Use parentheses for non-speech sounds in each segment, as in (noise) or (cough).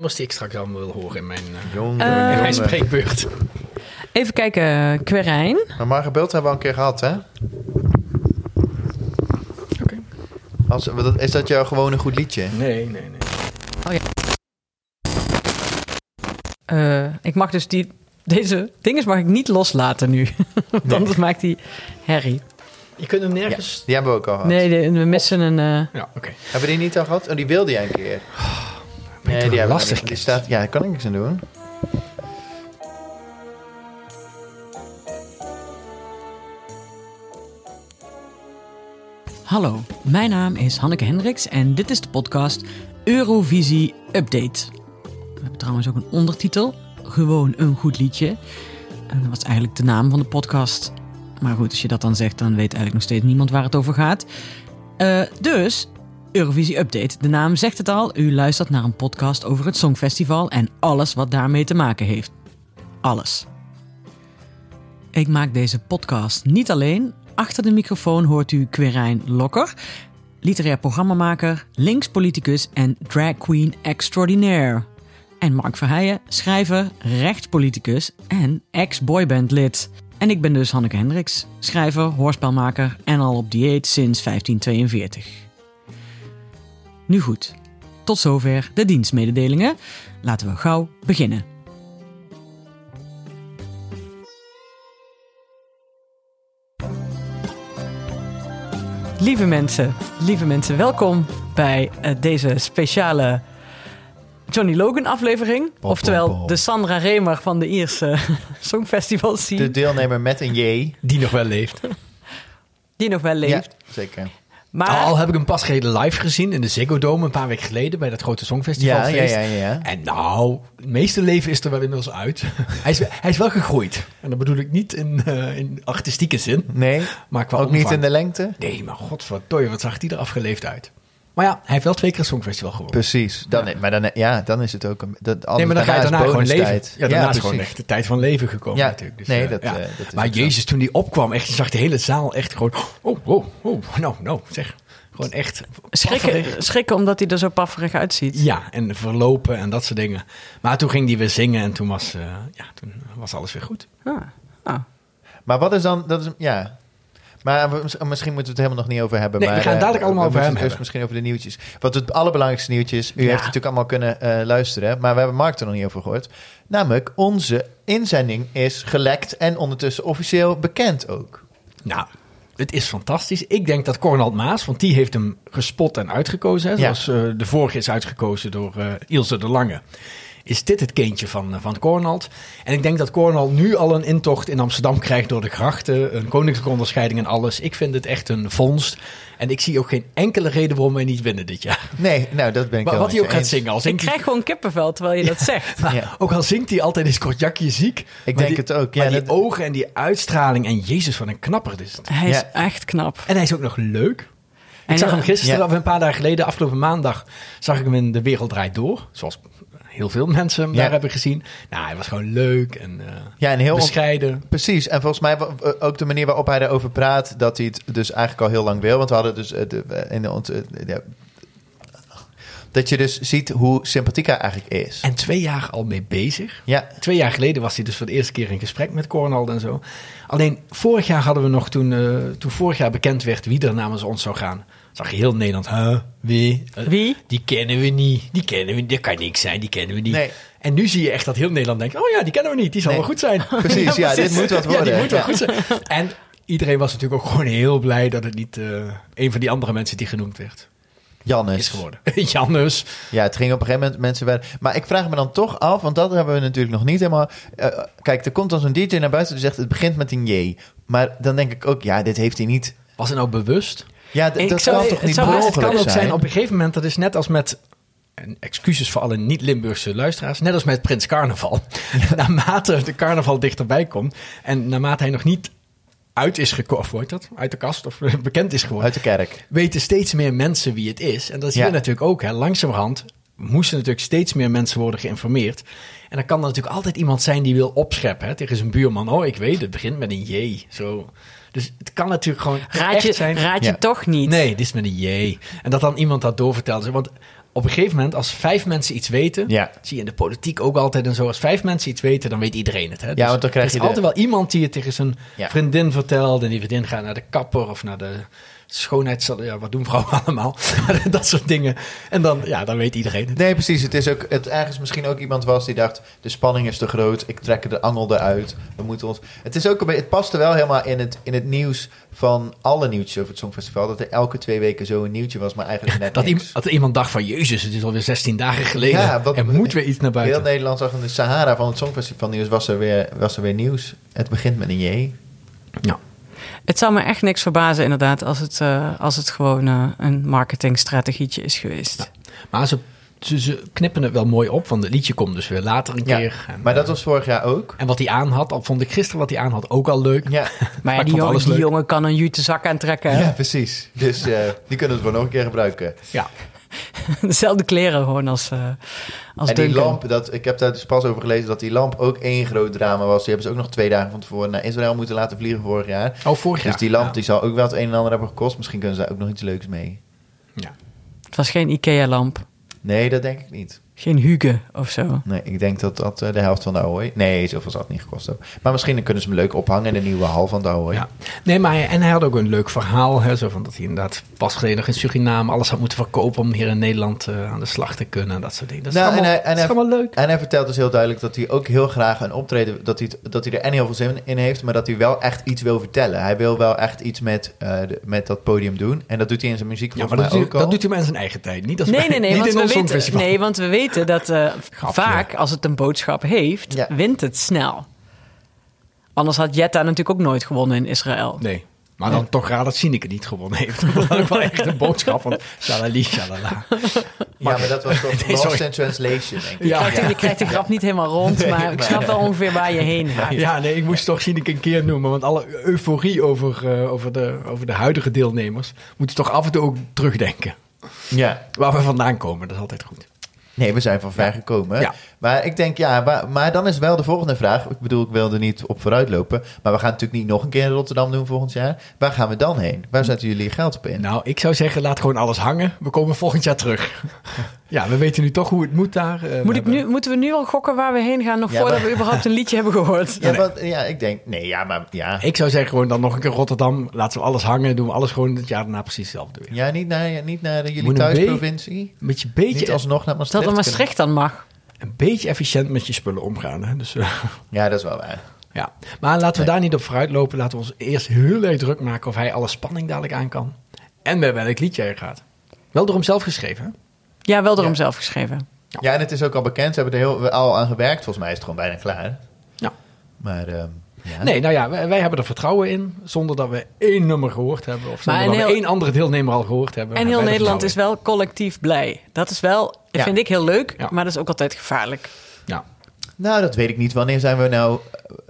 nummers die ik straks allemaal wil horen in mijn, eh, Jongen, in mijn jongen. spreekbeurt. Even kijken, Querijn. Maar Marge Bult hebben we al een keer gehad, hè? Oké. Als, wat- is dat jouw gewoon een goed liedje? Nee, nee, nee. Eh, ik mag dus die, deze dinges mag ik niet loslaten nu. (laughs) Want anders maakt hij herrie. Je kunt hem Ja, nergens... die hebben we ook al gehad. Nee, de- we missen een... eh, Ja, oké. Hebben we die niet al gehad? Oh, die wilde jij een keer. toch Nee, een die hebben we lastig niet. Die kind. staat, ja, daar kan ik niks aan doen. Hallo, mijn naam is Hanneke Hendricks en dit is de podcast Eurovisie Update. We hebben trouwens ook een ondertitel, Gewoon een goed liedje. En dat was eigenlijk de naam van de podcast. Maar goed, als je dat dan zegt, dan weet eigenlijk nog steeds niemand waar het over gaat. Eh, dus, Eurovisie Update. De naam zegt het al, u luistert naar een podcast over het Songfestival en alles wat daarmee te maken heeft. Alles. Ik maak deze podcast niet alleen. Achter de microfoon hoort u Quirijn Lokker, literair programmamaker, linkspoliticus en drag queen extraordinaire. En Mark Verheijen, schrijver, rechtspoliticus en ex-boybandlid. En ik ben dus Hanneke Hendricks, schrijver, hoorspelmaker en al op dieet sinds 1542. Nu goed, tot zover de dienstmededelingen. Laten we gauw beginnen. Lieve mensen, lieve mensen, welkom bij eh, deze speciale Johnny Logan aflevering. bom, oftewel bom. de Sandra Remer van de Ierse (laughs) Songfestival scene, De deelnemer met een J. Die nog wel leeft. Ah, die nog wel Ja, Oh, leeft. zeker. Maar Al heb ik hem pas geleden live gezien in de Ziggo Dome een paar weken geleden bij dat grote Ja, ja, songfestivalfeest. ja, ja. En nou, het meeste leven is er wel inmiddels uit. (laughs) hij, is, hij is wel gegroeid. En dat bedoel ik niet in, eh, in artistieke zin, Nee, maar qua ook niet in omvang. de lengte? Nee, maar godverdorie, wat zag die er afgeleefd uit. Maar ja, hij heeft wel twee keer het Songfestival gewonnen. Precies. Dan, Maar dan, ja, dan is het ook... Een, dat, Nee, maar dan ga je daarna gewoon leven. Ja, daarna is precies. gewoon echt de tijd van leven gekomen Ja, natuurlijk. Dus, nee, eh, dat, ja. eh, dat is maar ook zo. Jezus, toen die opkwam, echt, je zag de hele zaal echt gewoon... Oh, oh, oh, nou, nou, zeg. Gewoon echt... pafferig. schrikken, schrikken omdat hij er zo pafferig uitziet. Ja, en verlopen en dat soort dingen. Maar toen ging die weer zingen en toen was, eh, ja, toen was alles weer goed. Ah, ah. Maar wat is dan... Dat is, ja. Maar we- misschien moeten we het helemaal nog niet over hebben. Nee, we maar, gaan het eh, dadelijk allemaal we over moeten hem hebben. het eerst misschien over de nieuwtjes. Want het allerbelangrijkste nieuwtjes... U Ja. heeft het natuurlijk allemaal kunnen eh, luisteren. Maar we hebben Mark er nog niet over gehoord. Namelijk, onze inzending is gelekt... en ondertussen officieel bekend ook. Nou, het is fantastisch. Ik denk dat Cornald Maas, want die heeft hem gespot en uitgekozen. Hè, Ja. zoals eh, de vorige is uitgekozen door eh, Ilse de Lange. Is dit het kindje van, eh, van Cornald? En ik denk dat Cornald nu al een intocht in Amsterdam krijgt door de grachten. Een koninklijke onderscheiding en alles. Ik vind het echt een vondst. En ik zie ook geen enkele reden waarom wij niet winnen dit jaar. Nee, nou, dat ben ik Maar wel wat hij met ook je gaat eens. zingen. Al Ik zingt hij krijg gewoon kippenvel terwijl je dat zegt. Maar Ja. Ook al zingt hij altijd is Kortjakje ziek. maar denk die- het ook, ja, maar die dat- ogen en die uitstraling en jezus, wat een knapper dit is het. Hij is Ja. echt knap. En hij is ook nog leuk. Ik En- zag hem gisteren, Ja. of een paar dagen geleden, afgelopen maandag, zag ik hem in De Wereld Draait Door. Zoals heel veel mensen hem Ja. daar hebben gezien. Nou, hij was gewoon leuk en, eh, Ja, (laughs) en heel on- bescheiden. Precies, en volgens mij wa- eh, ook de manier waarop hij daarover praat, dat hij het dus eigenlijk al heel lang wil. Want we hadden dus eh, de- eh, in de ont- eh, ja. dat je dus ziet hoe sympathiek hij eigenlijk is. En twee jaar al mee bezig. Ja, Twee jaar geleden was hij dus voor de eerste keer in gesprek met Cornald en zo. Alleen vorig jaar hadden we nog, toen, eh, toen vorig jaar bekend werd wie er namens ons zou gaan, zag je heel Nederland, huh, wie? Eh, Wie? Die kennen we niet, die kennen we niet, dat kan niks zijn, die kennen we niet. Nee. En nu zie je echt dat heel Nederland denkt, oh ja, die kennen we niet, die zal Nee. wel goed zijn. (laughs) precies. Ja, dit moet (laughs) wat Ja, worden. die moet wel Ja. goed zijn. En iedereen was natuurlijk ook gewoon heel blij dat het niet eh, een van die andere mensen die genoemd werd, Jannes. is geworden. (laughs) Jannes. Ja, het ging op een gegeven moment mensen werden. Maar ik vraag me dan toch af, want dat hebben we natuurlijk nog niet helemaal. eh, kijk, er komt dan zo'n DJ naar buiten die zegt: het begint met een J. Maar dan denk ik ook, ja, dit heeft hij niet. Was het nou bewust? Ja, d- Ik dat zou- kan het toch niet zou- per Maar het kan ongeluk ook zijn op een gegeven moment, dat is net als met. en excuses voor alle niet-Limburgse luisteraars. Net als met Prins Carnaval. (laughs) Naarmate de carnaval dichterbij komt. en naarmate hij nog niet uit is gekomen. of hoe heet dat? Uit de kast of (laughs) bekend is geworden. Uit de kerk. weten steeds meer mensen wie het is. En dat is hier Ja. natuurlijk ook. Hè. Langzamerhand moesten natuurlijk steeds meer mensen worden geïnformeerd. En dan kan er natuurlijk altijd iemand zijn die wil opscheppen hè, tegen zijn buurman. Oh, ik weet, het begint met een J. Zo. Dus het kan natuurlijk gewoon Raad je, echt zijn. raad je Ja. toch niet? Nee, dit is met een J. En dat dan iemand dat doorvertelt. Want op een gegeven moment, als vijf mensen iets weten, Ja. zie je in de politiek ook altijd en zo. Als vijf mensen iets weten, dan weet iedereen het. Hè? Dus want dan krijg er je is de- altijd wel iemand die het tegen zijn Ja. vriendin vertelt. En die vriendin gaat naar de kapper of naar de schoonheidssalon. Ja, wat doen vrouwen (laughs) allemaal? dat soort dingen. En dan, ja, dan weet iedereen het. Nee, precies. Het is ook, het ergens misschien ook iemand was die dacht: de spanning is te groot, ik trek de angel eruit. We moeten ons. Het, is ook een beetje, het past er wel helemaal in het, in het nieuws van alle nieuwtjes over het Songfestival. Dat er elke twee weken zo'n nieuwtje was, maar eigenlijk net Dat, niks. iemand dat iemand dacht van, jezus, het is alweer 16 dagen geleden. Ja, wat- er moet weer iets naar Heel buiten. Nederland zag in de Sahara van het Songfestival nieuws was er weer, was er weer nieuws. Het begint met een J. Ja. Het zou me echt niks verbazen, inderdaad, als het, eh, als het gewoon eh, een marketingstrategietje is geweest. Maar ze, ze, ze knippen het wel mooi op, want het liedje komt dus weer later een Ja, keer. En, eh, maar dat was vorig jaar ook. en wat hij aan had, al vond ik gisteren wat hij aan had ook al leuk. (laughs) Ja, Maar, Maar ja, ik die, vond jongen, alles die leuk. jongen kan een jute zak aantrekken. hè? ja precies. Dus eh, die kunnen we nog een keer gebruiken. Ja. (laughs) Dezelfde kleren gewoon als, eh als en die Duncan. lamp, dat, ik heb daar dus pas over gelezen dat die lamp ook één groot drama was. Die hebben ze ook nog twee dagen van tevoren naar Israël moeten laten vliegen vorig jaar. Oh, vorig jaar. Dus die lamp Ja. die zal ook wel het een en ander hebben gekost. Misschien kunnen ze daar ook nog iets leuks mee. Ja. Het was geen IKEA-lamp. Nee, dat denk ik niet. Geen Hugo of zo. Nee, ik denk dat dat eh, de helft van de Ahoy... Nee, zoveel zal het niet gekost hebben. Maar misschien dan kunnen ze hem leuk ophangen in de nieuwe hal van de Ahoy. Oh Ja. Nee, maar hij- en hij had ook een leuk verhaal. Hè, zo van dat hij inderdaad pas geleden nog in Suriname alles had moeten verkopen om hier in Nederland eh, aan de slag te kunnen. En dat soort dingen. Dat is, Nou, en allemaal, hij- en dat is hij- allemaal leuk. En hij vertelt dus heel duidelijk dat hij ook heel graag een optreden... Dat hij, het- dat hij er en heel veel zin in heeft, maar dat hij wel echt iets wil vertellen. Hij wil wel echt iets met, eh, de- met dat podium doen. En dat doet hij in zijn muziek Ja, maar volgens dat, mij doet, ook al. dat doet hij maar in zijn eigen tijd. Niet, als Nee, wij- nee, nee, niet want in ons we weten, songfestival. nee, want we weten dat eh, Grapje. vaak als het een boodschap heeft, Ja. wint het snel. Anders had Jetta natuurlijk ook nooit gewonnen in Israël. Nee. Maar dan toch raar dat Sineke niet gewonnen heeft. (laughs) Dat was ook wel echt een boodschap van shalali, shalala. Ja, maar dat was (laughs) toch Nee, sorry. Lost in Translation, denk ik. Je, Ja, krijgt, ja. je krijgt de grap niet helemaal rond, maar ik snap wel ongeveer waar je heen gaat. Ja, nee, ik moest toch Sineke een keer noemen. Want alle euforie over, eh, over, de, over de huidige deelnemers moeten we toch af en toe ook terugdenken. Ja. Waar we vandaan komen, dat is altijd goed. Nee, we zijn van ver gekomen. Ja. Maar ik denk, ja, maar, maar dan is wel de volgende vraag. Ik bedoel, ik wil er niet op vooruit lopen. Maar we gaan natuurlijk niet nog een keer in Rotterdam doen volgend jaar. Waar gaan we dan heen? Waar zetten jullie geld op in? Nou, ik zou zeggen, laat gewoon alles hangen. We komen volgend jaar terug. ja, we weten nu toch hoe het moet daar. Eh, Moet we ik hebben- nu, moeten we nu al gokken waar we heen gaan, nog Ja, voordat maar- we überhaupt een liedje hebben gehoord? ja, want, ja, ik denk, nee, ja, maar ja. Ik zou zeggen, gewoon dan nog een keer Rotterdam. Laten we alles hangen. Doen we alles gewoon het jaar daarna precies hetzelfde weer. Ja, niet naar, niet naar eh, jullie Moet een thuisprovincie. Met je beetje, e- Niet alsnog naar Maastricht. Dat er kunnen. Maastricht dan mag. een beetje efficiënt met je spullen omgaan. Hè? Dus, eh, (laughs) Ja, dat is wel waar. ja. Maar laten we Nee. daar niet op vooruit lopen. Laten we ons eerst heel erg druk maken of hij alle spanning dadelijk aan kan. En bij welk liedje hij gaat. Wel door hem zelf geschreven. hè? Ja, wel door Ja. hem zelf geschreven. Ja, en het is ook al bekend. Ze hebben er heel, al aan gewerkt. Volgens mij is het gewoon bijna klaar. Ja. Maar, ehm, ja. Nee, nou ja, wij, wij hebben er vertrouwen in. Zonder dat we één nummer gehoord hebben. Of zonder Maar dat een we heel- één andere deelnemer al gehoord hebben. En Maar heel wij hebben Nederland is vertrouwen wel collectief blij. Dat is wel, Ja. vind ik heel leuk, Ja. maar dat is ook altijd gevaarlijk. in. Ja. Nou, dat weet ik niet. Wanneer zijn we nou...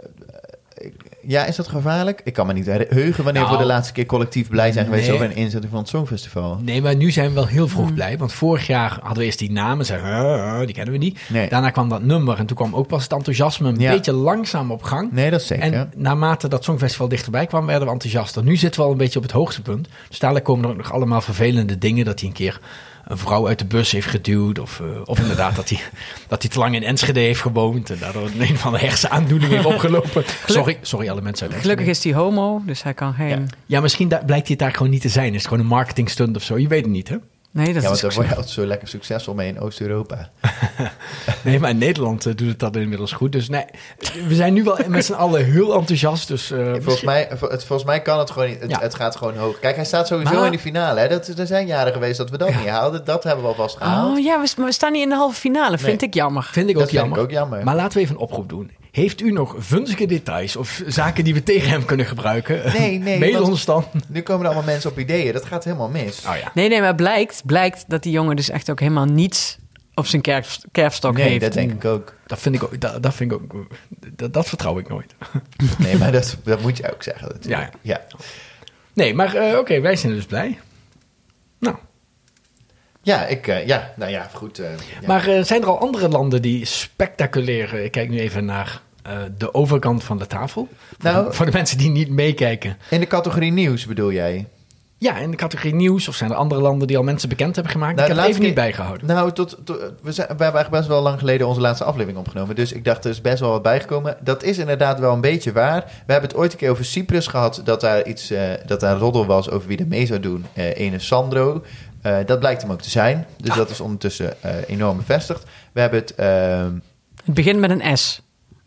eh, eh, Ja, is dat gevaarlijk? Ik kan me niet heugen wanneer Nou, we de laatste keer collectief blij zijn geweest nee. over een inzetting van het Songfestival. Nee, maar nu zijn we wel heel vroeg blij. Want vorig jaar hadden we eerst die namen. Zeiden, "Huh, huh, die kennen we niet. Nee. Daarna kwam dat nummer. En toen kwam ook pas het enthousiasme een Ja. beetje langzaam op gang. Nee, dat is zeker. En naarmate dat Songfestival dichterbij kwam, werden we enthousiaster. Nu zitten we al een beetje op het hoogtepunt. Dus dadelijk komen er ook nog allemaal vervelende dingen. Dat hij een keer een vrouw uit de bus heeft geduwd. Of, eh, of inderdaad dat hij, (laughs) dat hij te lang in Enschede heeft gewoond. En daardoor een van de hersenaandoeningen heeft (laughs) opgelopen. Sorry, sorry alle mensen uit Enschede. Gelukkig is hij homo, dus hij kan geen... Ja, misschien da- blijkt hij het daar gewoon niet te zijn. Is het gewoon een marketingstunt of zo? Je weet het niet, hè? Nee, ja, dat want is daar ook word zo. je altijd zo lekker succesvol mee in Oost-Europa. Nee, maar in Nederland eh, doet het dat inmiddels goed. Dus nee, we zijn nu (laughs) wel met z'n allen heel enthousiast. Dus, eh, Volgens mij, het, volgens mij kan het gewoon niet. Het, Ja. het gaat gewoon hoog. Kijk, hij staat sowieso Maar- in de finale. Hè? Dat, er zijn jaren geweest dat we dat niet haalden. Dat hebben we alvast gehaald. Oh ja, we, maar we staan niet in de halve finale, vind Nee. ik jammer. vind ik ook dat vind jammer. ik ook jammer. Maar laten we even een oproep doen. Heeft u nog vunzige details of zaken die we tegen hem kunnen gebruiken? Nee, (laughs) nee, Mail want- ons dan. Nu komen er allemaal mensen op ideeën. Dat gaat helemaal mis. Oh ja. Nee, nee, maar blijkt, blijkt dat die jongen dus echt ook helemaal niets op zijn kerf, kerfstok nee, heeft. dat denk ik ook. Dat vind ik ook. Dat, dat vind ik ook. Dat, dat vertrouw ik nooit. Nee, maar dat, dat moet je ook zeggen. natuurlijk. Ja, ja. Nee, maar eh, oké, wij zijn dus blij. Nou, Ja, ik, eh, ja, nou ja, goed. eh, ja. maar eh, zijn er al andere landen die spectaculair. eh, Ik kijk nu even naar eh, de overkant van de tafel. Voor Nou- de- voor de mensen die niet meekijken. In de categorie nieuws bedoel jij? Ja, in de categorie nieuws. Of zijn er andere landen die al mensen bekend hebben gemaakt? Nou, ik de heb het even laatste niet bijgehouden. Nou, tot, tot- we, zijn, we hebben eigenlijk best wel lang geleden onze laatste aflevering opgenomen. Dus ik dacht, er is best wel wat bijgekomen. Dat is inderdaad wel een beetje waar. We hebben het ooit een keer over Cyprus gehad. Dat daar iets, eh, dat daar roddel was over wie er mee zou doen. Eh ene Sandro. Eh, dat blijkt hem ook te zijn. Dus dat is ondertussen eh, enorm bevestigd. We hebben het... ehm Het begint met een S.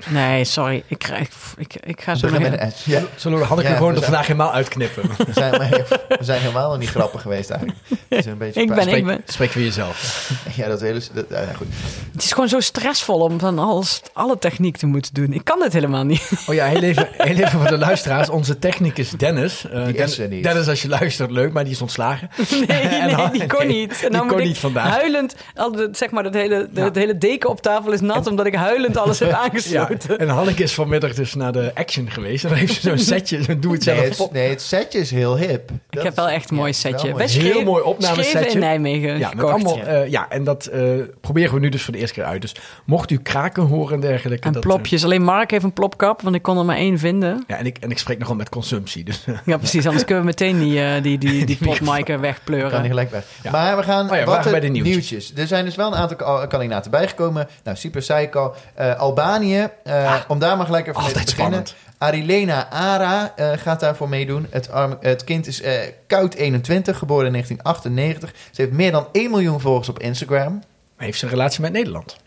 Nee, sorry. Ik, krijg, ik, ik ga zo begin nog met heel- een S. (laughs) Ja. Zullen we Hanneke Ja, dus gewoon er we zijn- vandaag helemaal (laughs) uitknippen? We zijn, maar heel- we zijn helemaal nog niet grappig geweest eigenlijk. Het is een beetje Ik ben pijnlijk. Spreek, ben- spreek voor (laughs) jezelf. Ja, dat hele... Dat, ja, goed. Het is gewoon zo stressvol om van alles, alle techniek te moeten doen. Ik kan dit helemaal niet. (laughs) Oh ja, heel even, heel even voor de luisteraars. Onze technicus Dennis. eh, Die Den- is er niet. Dennis, als je luistert, leuk, maar die is ontslagen. Nee, En nee dan- die nee, kon niet. nou, die En dan kon moet ik niet vandaag. Huilend, al het- zeg maar, dat hele, de, Ja. het hele deken op tafel is nat omdat ik huilend alles heb (laughs) (laughs) Ja, aangesloten. en Hanneke is vanmiddag dus naar de action geweest. En dan heeft ze zo'n setje, zo'n Nee, doe-het-zelf. het, nee, het setje is heel hip. Ik heb wel echt een mooi setje. mooi. Wij Heel schreven- mooi opnamesetje. schreven in Nijmegen Ja, met gekocht. allemaal, ja. eh, ja, en dat eh, proberen we nu dus voor de eerste keer uit. Dus mocht u kraken horen en dergelijke. En dat, plopjes. eh, Alleen Mark heeft een plopkap, want ik kon er maar één vinden. eh, ja, en ik, en ik spreek nogal met consumptie. Dus, eh, Ja, precies. Anders kunnen we meteen die, eh, (laughs) die, die, die popmic er Kan wegpleuren. niet gelijk weg. Ja. Maar we gaan Oh ja, we wat waren bij het- de nieuwtjes. nieuwtjes. Er zijn dus wel een aantal ka- kandidaten bijgekomen. Nou, Cyprus zei ik al. Eh, Albanië, eh, Ah. om daar maar gelijk even mee altijd te beginnen. spannend. Arilena Ara eh, gaat daarvoor meedoen. Het, arm, het kind is eh, koud 21, geboren in 1998. Ze heeft meer dan 1 miljoen volgers op Instagram. heeft ze een relatie met Nederland?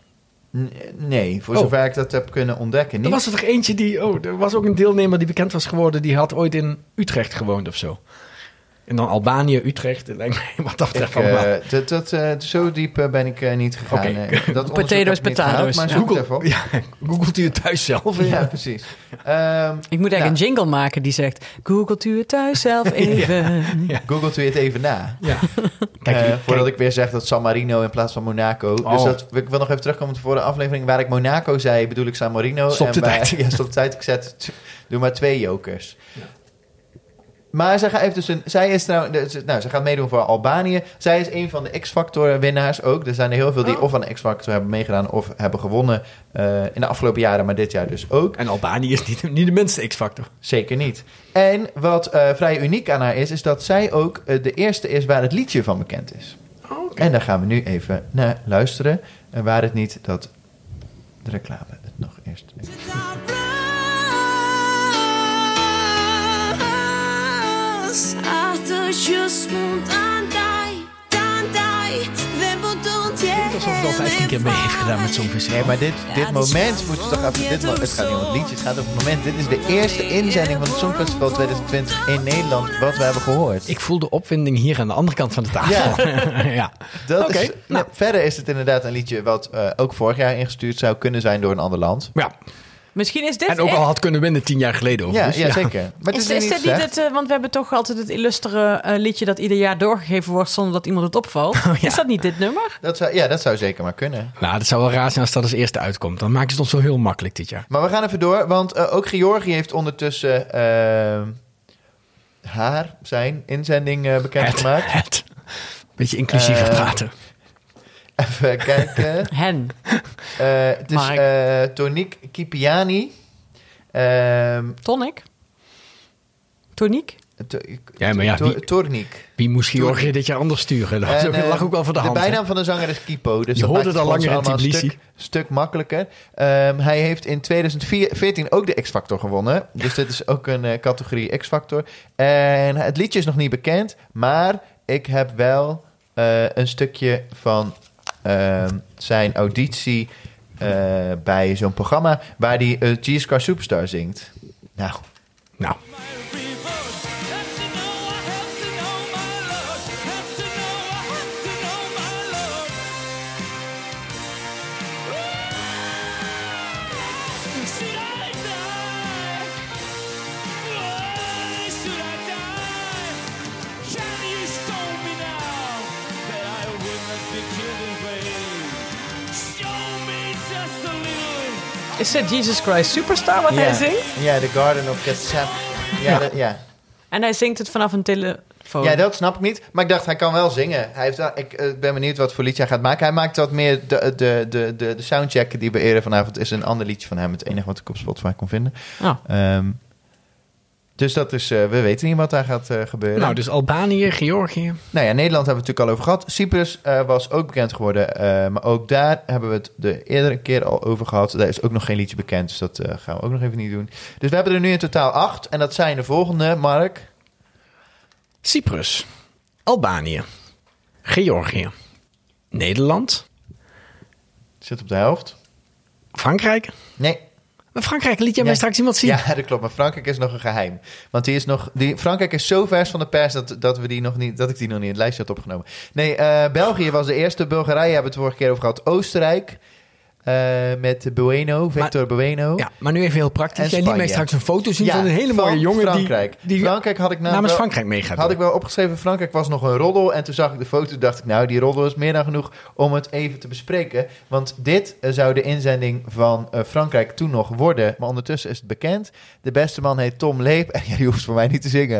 N- nee, voor Oh. zover ik dat heb kunnen ontdekken Er niet. was er toch eentje die. Oh, er was ook een deelnemer die bekend was geworden. Die had ooit in Utrecht gewoond of zo. En dan Albanië, Utrecht. het Lijkt mij (laughs) wat dat Ik, betreft allemaal. eh, dat, dat, eh, zo diep eh, ben ik eh, niet gegaan. Oké. Eh, dat onderzoek (laughs) Potatoes, heb ik niet potatoes. gehaald, Maar Ja. zoek het even op. eh, Google, ja, googelt u het thuis zelf? Ja, (laughs) precies. Ehm, Ik moet eigenlijk Nou. een jingle maken die zegt... Googelt u het thuis (laughs) zelf even. googelt u het even na. Ja. Eh, Kijk, voordat ik weer zeg dat San Marino in plaats van Monaco. Dus Oh. dat, ik wil nog even terugkomen op de vorige aflevering. Waar ik Monaco zei, bedoel ik San Marino. Stop de en bij- tijd. (laughs) Ja, stop de tijd. Ik zet, t- doe maar twee jokers. Maar zij, gaat even dus een, zij is nou, de- nou, ze gaat meedoen voor Albanië. Zij is een van de X-Factor winnaars ook. Er zijn er heel veel Oh. die of aan de X-Factor hebben meegedaan of hebben gewonnen. eh, in de afgelopen jaren, maar dit jaar dus ook. En Albanië is niet, niet de minste X-factor. Zeker niet. En wat eh, vrij uniek aan haar is, is dat zij ook eh, de eerste is waar het liedje van bekend is. Oh, En daar gaan we nu even naar luisteren. En waar het niet dat de reclame het nog eerst. Atë që s'mund të ndaj, të ndaj Dhe boton Ik denk alsof het al 15 keer mee heeft gedaan met zo'n festival. Nee, maar dit, dit moment moet je toch even. Dit, mo- het gaat niet om het liedje, het gaat om het moment. Dit is de eerste inzending van het Songfestival 2020 in Nederland, wat we hebben gehoord. Ik voel de opwinding hier aan de andere kant van de tafel. (laughs) Ja. Dat Oké, is, nou. Verder is het inderdaad een liedje wat eh, ook vorig jaar ingestuurd zou kunnen zijn door een ander land. ja. Misschien is dit... En ook echt- al had kunnen winnen tien jaar geleden. Ja, overigens. ja, zeker. Maar het is, Is, is niet dit niet slecht. het, eh, want we hebben toch altijd het illustere eh, liedje dat ieder jaar doorgegeven wordt zonder dat iemand het (laughs) opvalt. Oh, ja. Is dat niet dit nummer? Dat zou, ja, dat zou zeker maar kunnen. Nou, dat zou wel raar zijn als dat als eerste uitkomt. Dan maken ze het ons wel heel makkelijk dit jaar. Maar we gaan even door, want eh, ook Georgië heeft ondertussen eh, haar, zijn inzending eh, (laughs) bekendgemaakt. het. Beetje inclusiever Eh, praten. Even kijken. Hen. Eh, het is Mark. eh Tonique Kipiani. Ehm Tonic? Toniek? to- Ja, maar ja, to- wie- Torniek. Wie moest Georgië dit jaar anders sturen? Dat was ook- En, eh, (laughs) lag ook wel voor de hand. hè? bijnaam van de zanger is Kipo. Dus Je dat hoorde maakt het al voor ons langer in allemaal een Tbilisi. stuk, stuk makkelijker. Ehm, hij heeft in 2014 ook de X-Factor gewonnen. Dus dit is ook een eh, categorie X-Factor. En het liedje is nog niet bekend. Maar ik heb wel eh, een stukje van ehm, zijn auditie eh, bij zo'n programma... waar hij eh, Jesus Car Superstar zingt. Nou, Nou, Just a little Is dit Jesus Christ Superstar wat hij ja. zingt? Ja, The Garden of Gethsemane. Ja, dat- ja. En hij zingt het vanaf een telefoon. Ja, dat snap ik niet. Maar ik dacht, hij kan wel zingen. Hij heeft wel, ik eh, ben benieuwd wat voor liedje hij gaat maken. Hij maakt wat meer de, eh, de, de, de, de soundcheck die we eerder vanavond... is een ander liedje van hem. Het enige wat ik op Spotify kon vinden. Oh. Ehm, Dus dat is, eh, we weten niet wat daar gaat eh, gebeuren. Nou, dus Albanië, Georgië. Nou ja, Nederland hebben we het natuurlijk al over gehad. Cyprus eh, was ook bekend geworden. eh, maar ook daar hebben we het de eerdere keer al over gehad. Daar is ook nog geen liedje bekend. Dus dat eh, gaan we ook nog even niet doen. Dus we hebben er nu in totaal acht. En dat zijn de volgende, Mark. Cyprus, Albanië, Georgië, Nederland, Zit op de helft. Frankrijk. Nee. Maar Frankrijk liet jij Ja. mij straks iemand zien. Ja, dat klopt. Maar Frankrijk is nog een geheim. Want die is nog, die, Frankrijk is zo vers van de pers dat, dat, we die nog niet, dat ik die nog niet in het lijstje had opgenomen. Nee, eh, België was de eerste. Bulgarije hebben we het vorige keer over gehad. Oostenrijk eh, met Bueno, Victor Bueno. Ja, maar nu even heel praktisch. En Jij liet mij Spanje. straks een foto zien Ja, van een hele mooie van jongen Frankrijk. die, die Frankrijk had ik nou namens wel- Frankrijk mee gaat Had ik doen. wel opgeschreven, Frankrijk was nog een roddel. En toen zag ik de foto en dacht ik, nou, die roddel is meer dan genoeg om het even te bespreken. Want dit eh, zou de inzending van eh, Frankrijk toen nog worden. Maar ondertussen is het bekend. De beste man heet Tom Leep. (laughs) En ja, die hoeft voor mij niet te zingen.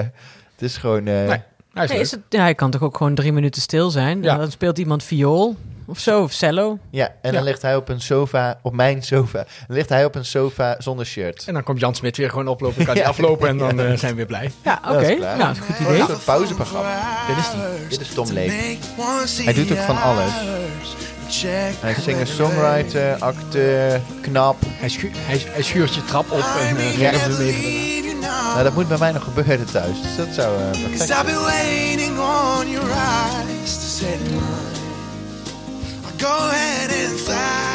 Het is gewoon... eh, Nee. Hij is Nee, leuk. is het, ja, hij kan toch ook gewoon drie minuten stil zijn? Ja. En dan speelt iemand viool of zo, of cello. Ja, en dan Ja. ligt hij op een sofa, op mijn sofa. Dan ligt hij op een sofa zonder shirt. En dan komt Jan Smit weer gewoon oplopen. Kan (laughs) hij Ja. aflopen en dan eh, zijn we weer blij. Ja, oké. Dat is klaar. Nou, dat is een goed Gewoon idee. een soort pauzeprogramma. Dit is die. Dit is Tom Leep. Hij doet ook van alles. Hij is singer-songwriter, acteur, knap. Hij, schu- hij, hij schuurt je trap op Ah, en eh Ja. werpt hem even. Nou, dat moet bij mij nog gebeuren thuis. Dus dat zou eh, perfect Cause zijn. I've been waiting on your eyes to set mine. I'll go ahead and sigh.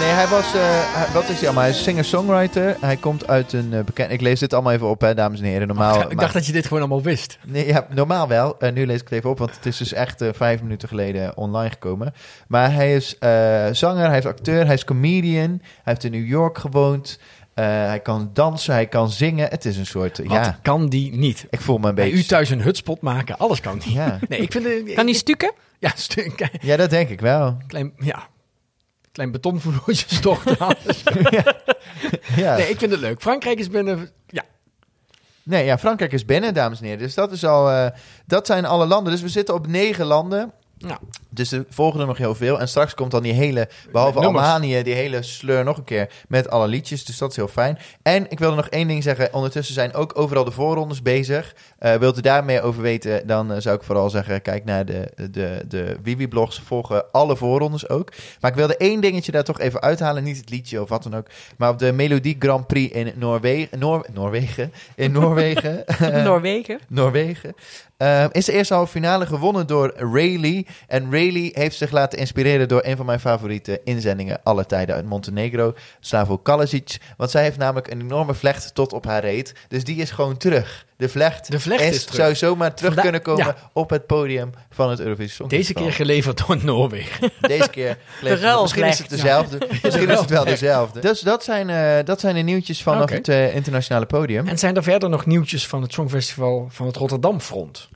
Nee, hij was... eh, hij- wat is hij allemaal? Hij is singer-songwriter. Hij komt uit een eh, bekend... Ik lees dit allemaal even op, hè, dames en heren. Normaal... Oh, Ik maar- dacht dat je dit gewoon allemaal wist. Nee, ja, normaal wel. Eh, nu lees ik het even op, want het is dus echt eh, vijf minuten geleden online gekomen. Maar hij is eh, zanger, hij is acteur, hij is comedian. Hij heeft in New York gewoond. Eh, hij kan dansen, hij kan zingen. Het is een soort... eh, Wat ja, kan die niet? ik voel me een Bij u beetje... thuis een hutspot maken, alles kan die. Ja. Nee, ik vind het... Kan die stukken? Ja, een klein, ja, dat denk ik wel. klein, ja, klein betonvoerloosje (laughs) stort aan. Ja. Nee, ik vind het leuk. Frankrijk is binnen... Ja, Nee, ja, Frankrijk is binnen, dames en heren. Dus dat, is al, eh, dat zijn alle landen. Dus we zitten op negen landen. Ja. Dus er volgen er nog heel veel. En straks komt dan die hele, behalve Met nummers. Albanië, die hele sleur nog een keer met alle liedjes. Dus dat is heel fijn. En ik wilde nog één ding zeggen. Ondertussen zijn ook overal de voorrondes bezig. Eh, wilt u daar meer over weten, dan eh, zou ik vooral zeggen... kijk naar de, de, de Wiwi-blogs, volgen alle voorrondes ook. Maar ik wilde één dingetje daar toch even uithalen. Niet het liedje of wat dan ook. Maar op de Melodie Grand Prix in Noorwegen... Noor, Noorwegen? In Noorwegen. (laughs) Noorwegen. Noorwegen. Ehm, is de eerste halve finale gewonnen door Rayleigh. En Rayleigh heeft zich laten inspireren door een van mijn favoriete inzendingen aller tijden uit Montenegro, Slavo Kalasic. Want zij heeft namelijk een enorme vlecht tot op haar reet. Dus die is gewoon terug. De vlecht, De vlecht is terug. zou zomaar terug Vandaar- kunnen komen ja. op het podium van het Eurovisie deze Songfestival. keer geleverd door Noorwegen. Deze (laughs) keer. geleverd. ruilvlecht. Misschien is het dezelfde. Misschien is het wel dezelfde. Dus dat zijn, eh, dat zijn de nieuwtjes vanaf Oké. het eh, internationale podium. En zijn er verder nog nieuwtjes van het Songfestival van het Rotterdam Front?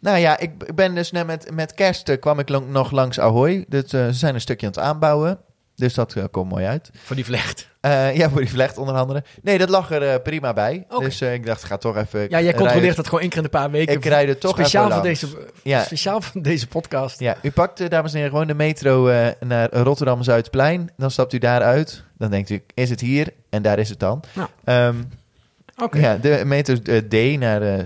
Nou ja, ik ik ben dus net met, met kerst eh, kwam ik lang- nog langs Ahoy. Dus, eh, ze zijn een stukje aan het aanbouwen. Dus dat eh, komt mooi uit. Voor die vlecht. Eh, ja, voor die vlecht onder andere. Nee, dat lag er eh, prima bij. Oké. Dus eh, ik dacht, ik ga toch even... Ja, jij rijden. controleert dat gewoon één keer in een paar weken. Ik rijd er toch speciaal even voor, langs. deze, Ja. speciaal voor deze podcast. Ja, u pakt, eh, dames en heren, gewoon de metro eh, naar Rotterdam-Zuidplein. Dan stapt u daaruit. Dan denkt u, is het hier? En daar is het dan. Ja. Ehm, Nou. Oké, ja de metro eh, D naar eh,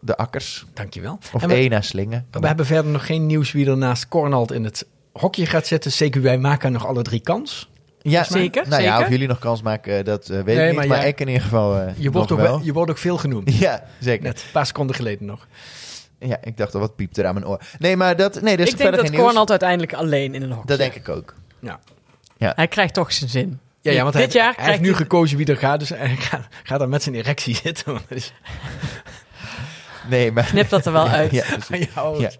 de Akkers. dankjewel. Of En we- E naar Slingen. We hebben verder nog geen nieuws wie er naast Cornald in het hokje gaat zitten. Zeker wij maken nog alle drie kans. Ja, Zeker, Nou ja, zeker. of jullie nog kans maken, eh, dat eh, Nee, weet ik niet. maar Maar, jij- ik in ieder geval eh, Je nog wordt, ook, wel. (laughs) wel- je wordt ook veel genoemd. Ja, zeker. Net, een paar seconden geleden nog. Ja, ik dacht al, wat piept er aan mijn oor. Nee, maar dat, nee, dat is ik verder denk dat geen nieuws. Cornald uiteindelijk alleen in een hokje. Dat denk ik ook. Ja. Hij krijgt toch zijn zin. Ja, ja, want Dit hij, jaar hij heeft krijgt nu hij- gekozen wie er gaat, dus (laughs) hij gaat, gaat dan met zijn erectie zitten. want dat is- Nee, maar... Knip dat er wel uit. (laughs) (laughs) Ja, precies. Ja, oh, Ja.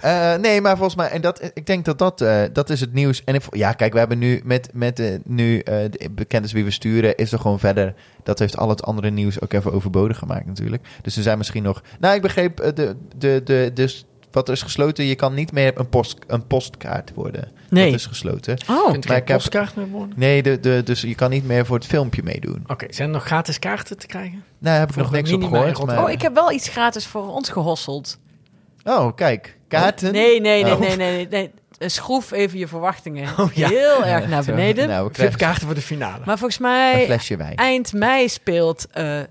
Eh, nee, maar volgens mij, en dat, ik denk dat dat, eh, dat is het nieuws. En ik, ja, kijk, we hebben nu met, met eh, nu eh, de bekend is wie we sturen, is er gewoon verder. Dat heeft al het andere nieuws ook even overbodig gemaakt natuurlijk. Dus er zijn misschien nog. Nou, ik begreep eh, de, de, de, dus wat er is gesloten. Je kan niet meer een, post, een postkaart worden. Nee. Dat is gesloten. Oh, Kunt Maar geen ik heb- postkaart meer worden? Nee, de, de, dus je kan niet meer voor het filmpje meedoen. Oké, zijn er nog gratis kaarten te krijgen? Nou, daar heb ik Voor nog de niks op minima in gehoord. Rotterdam. maar- oh, ik heb wel iets gratis voor ons gehosseld. Oh, kijk. Kaarten? Nee, nee, nee, Oh. nee, nee, nee, nee. Eh, Schroef even je verwachtingen Oh, ja. heel erg naar Zo. beneden. Nou, we krijgen Vipkaarten voor de finale. Maar volgens een mij flesje wijn. eind mei speelt eh, eh,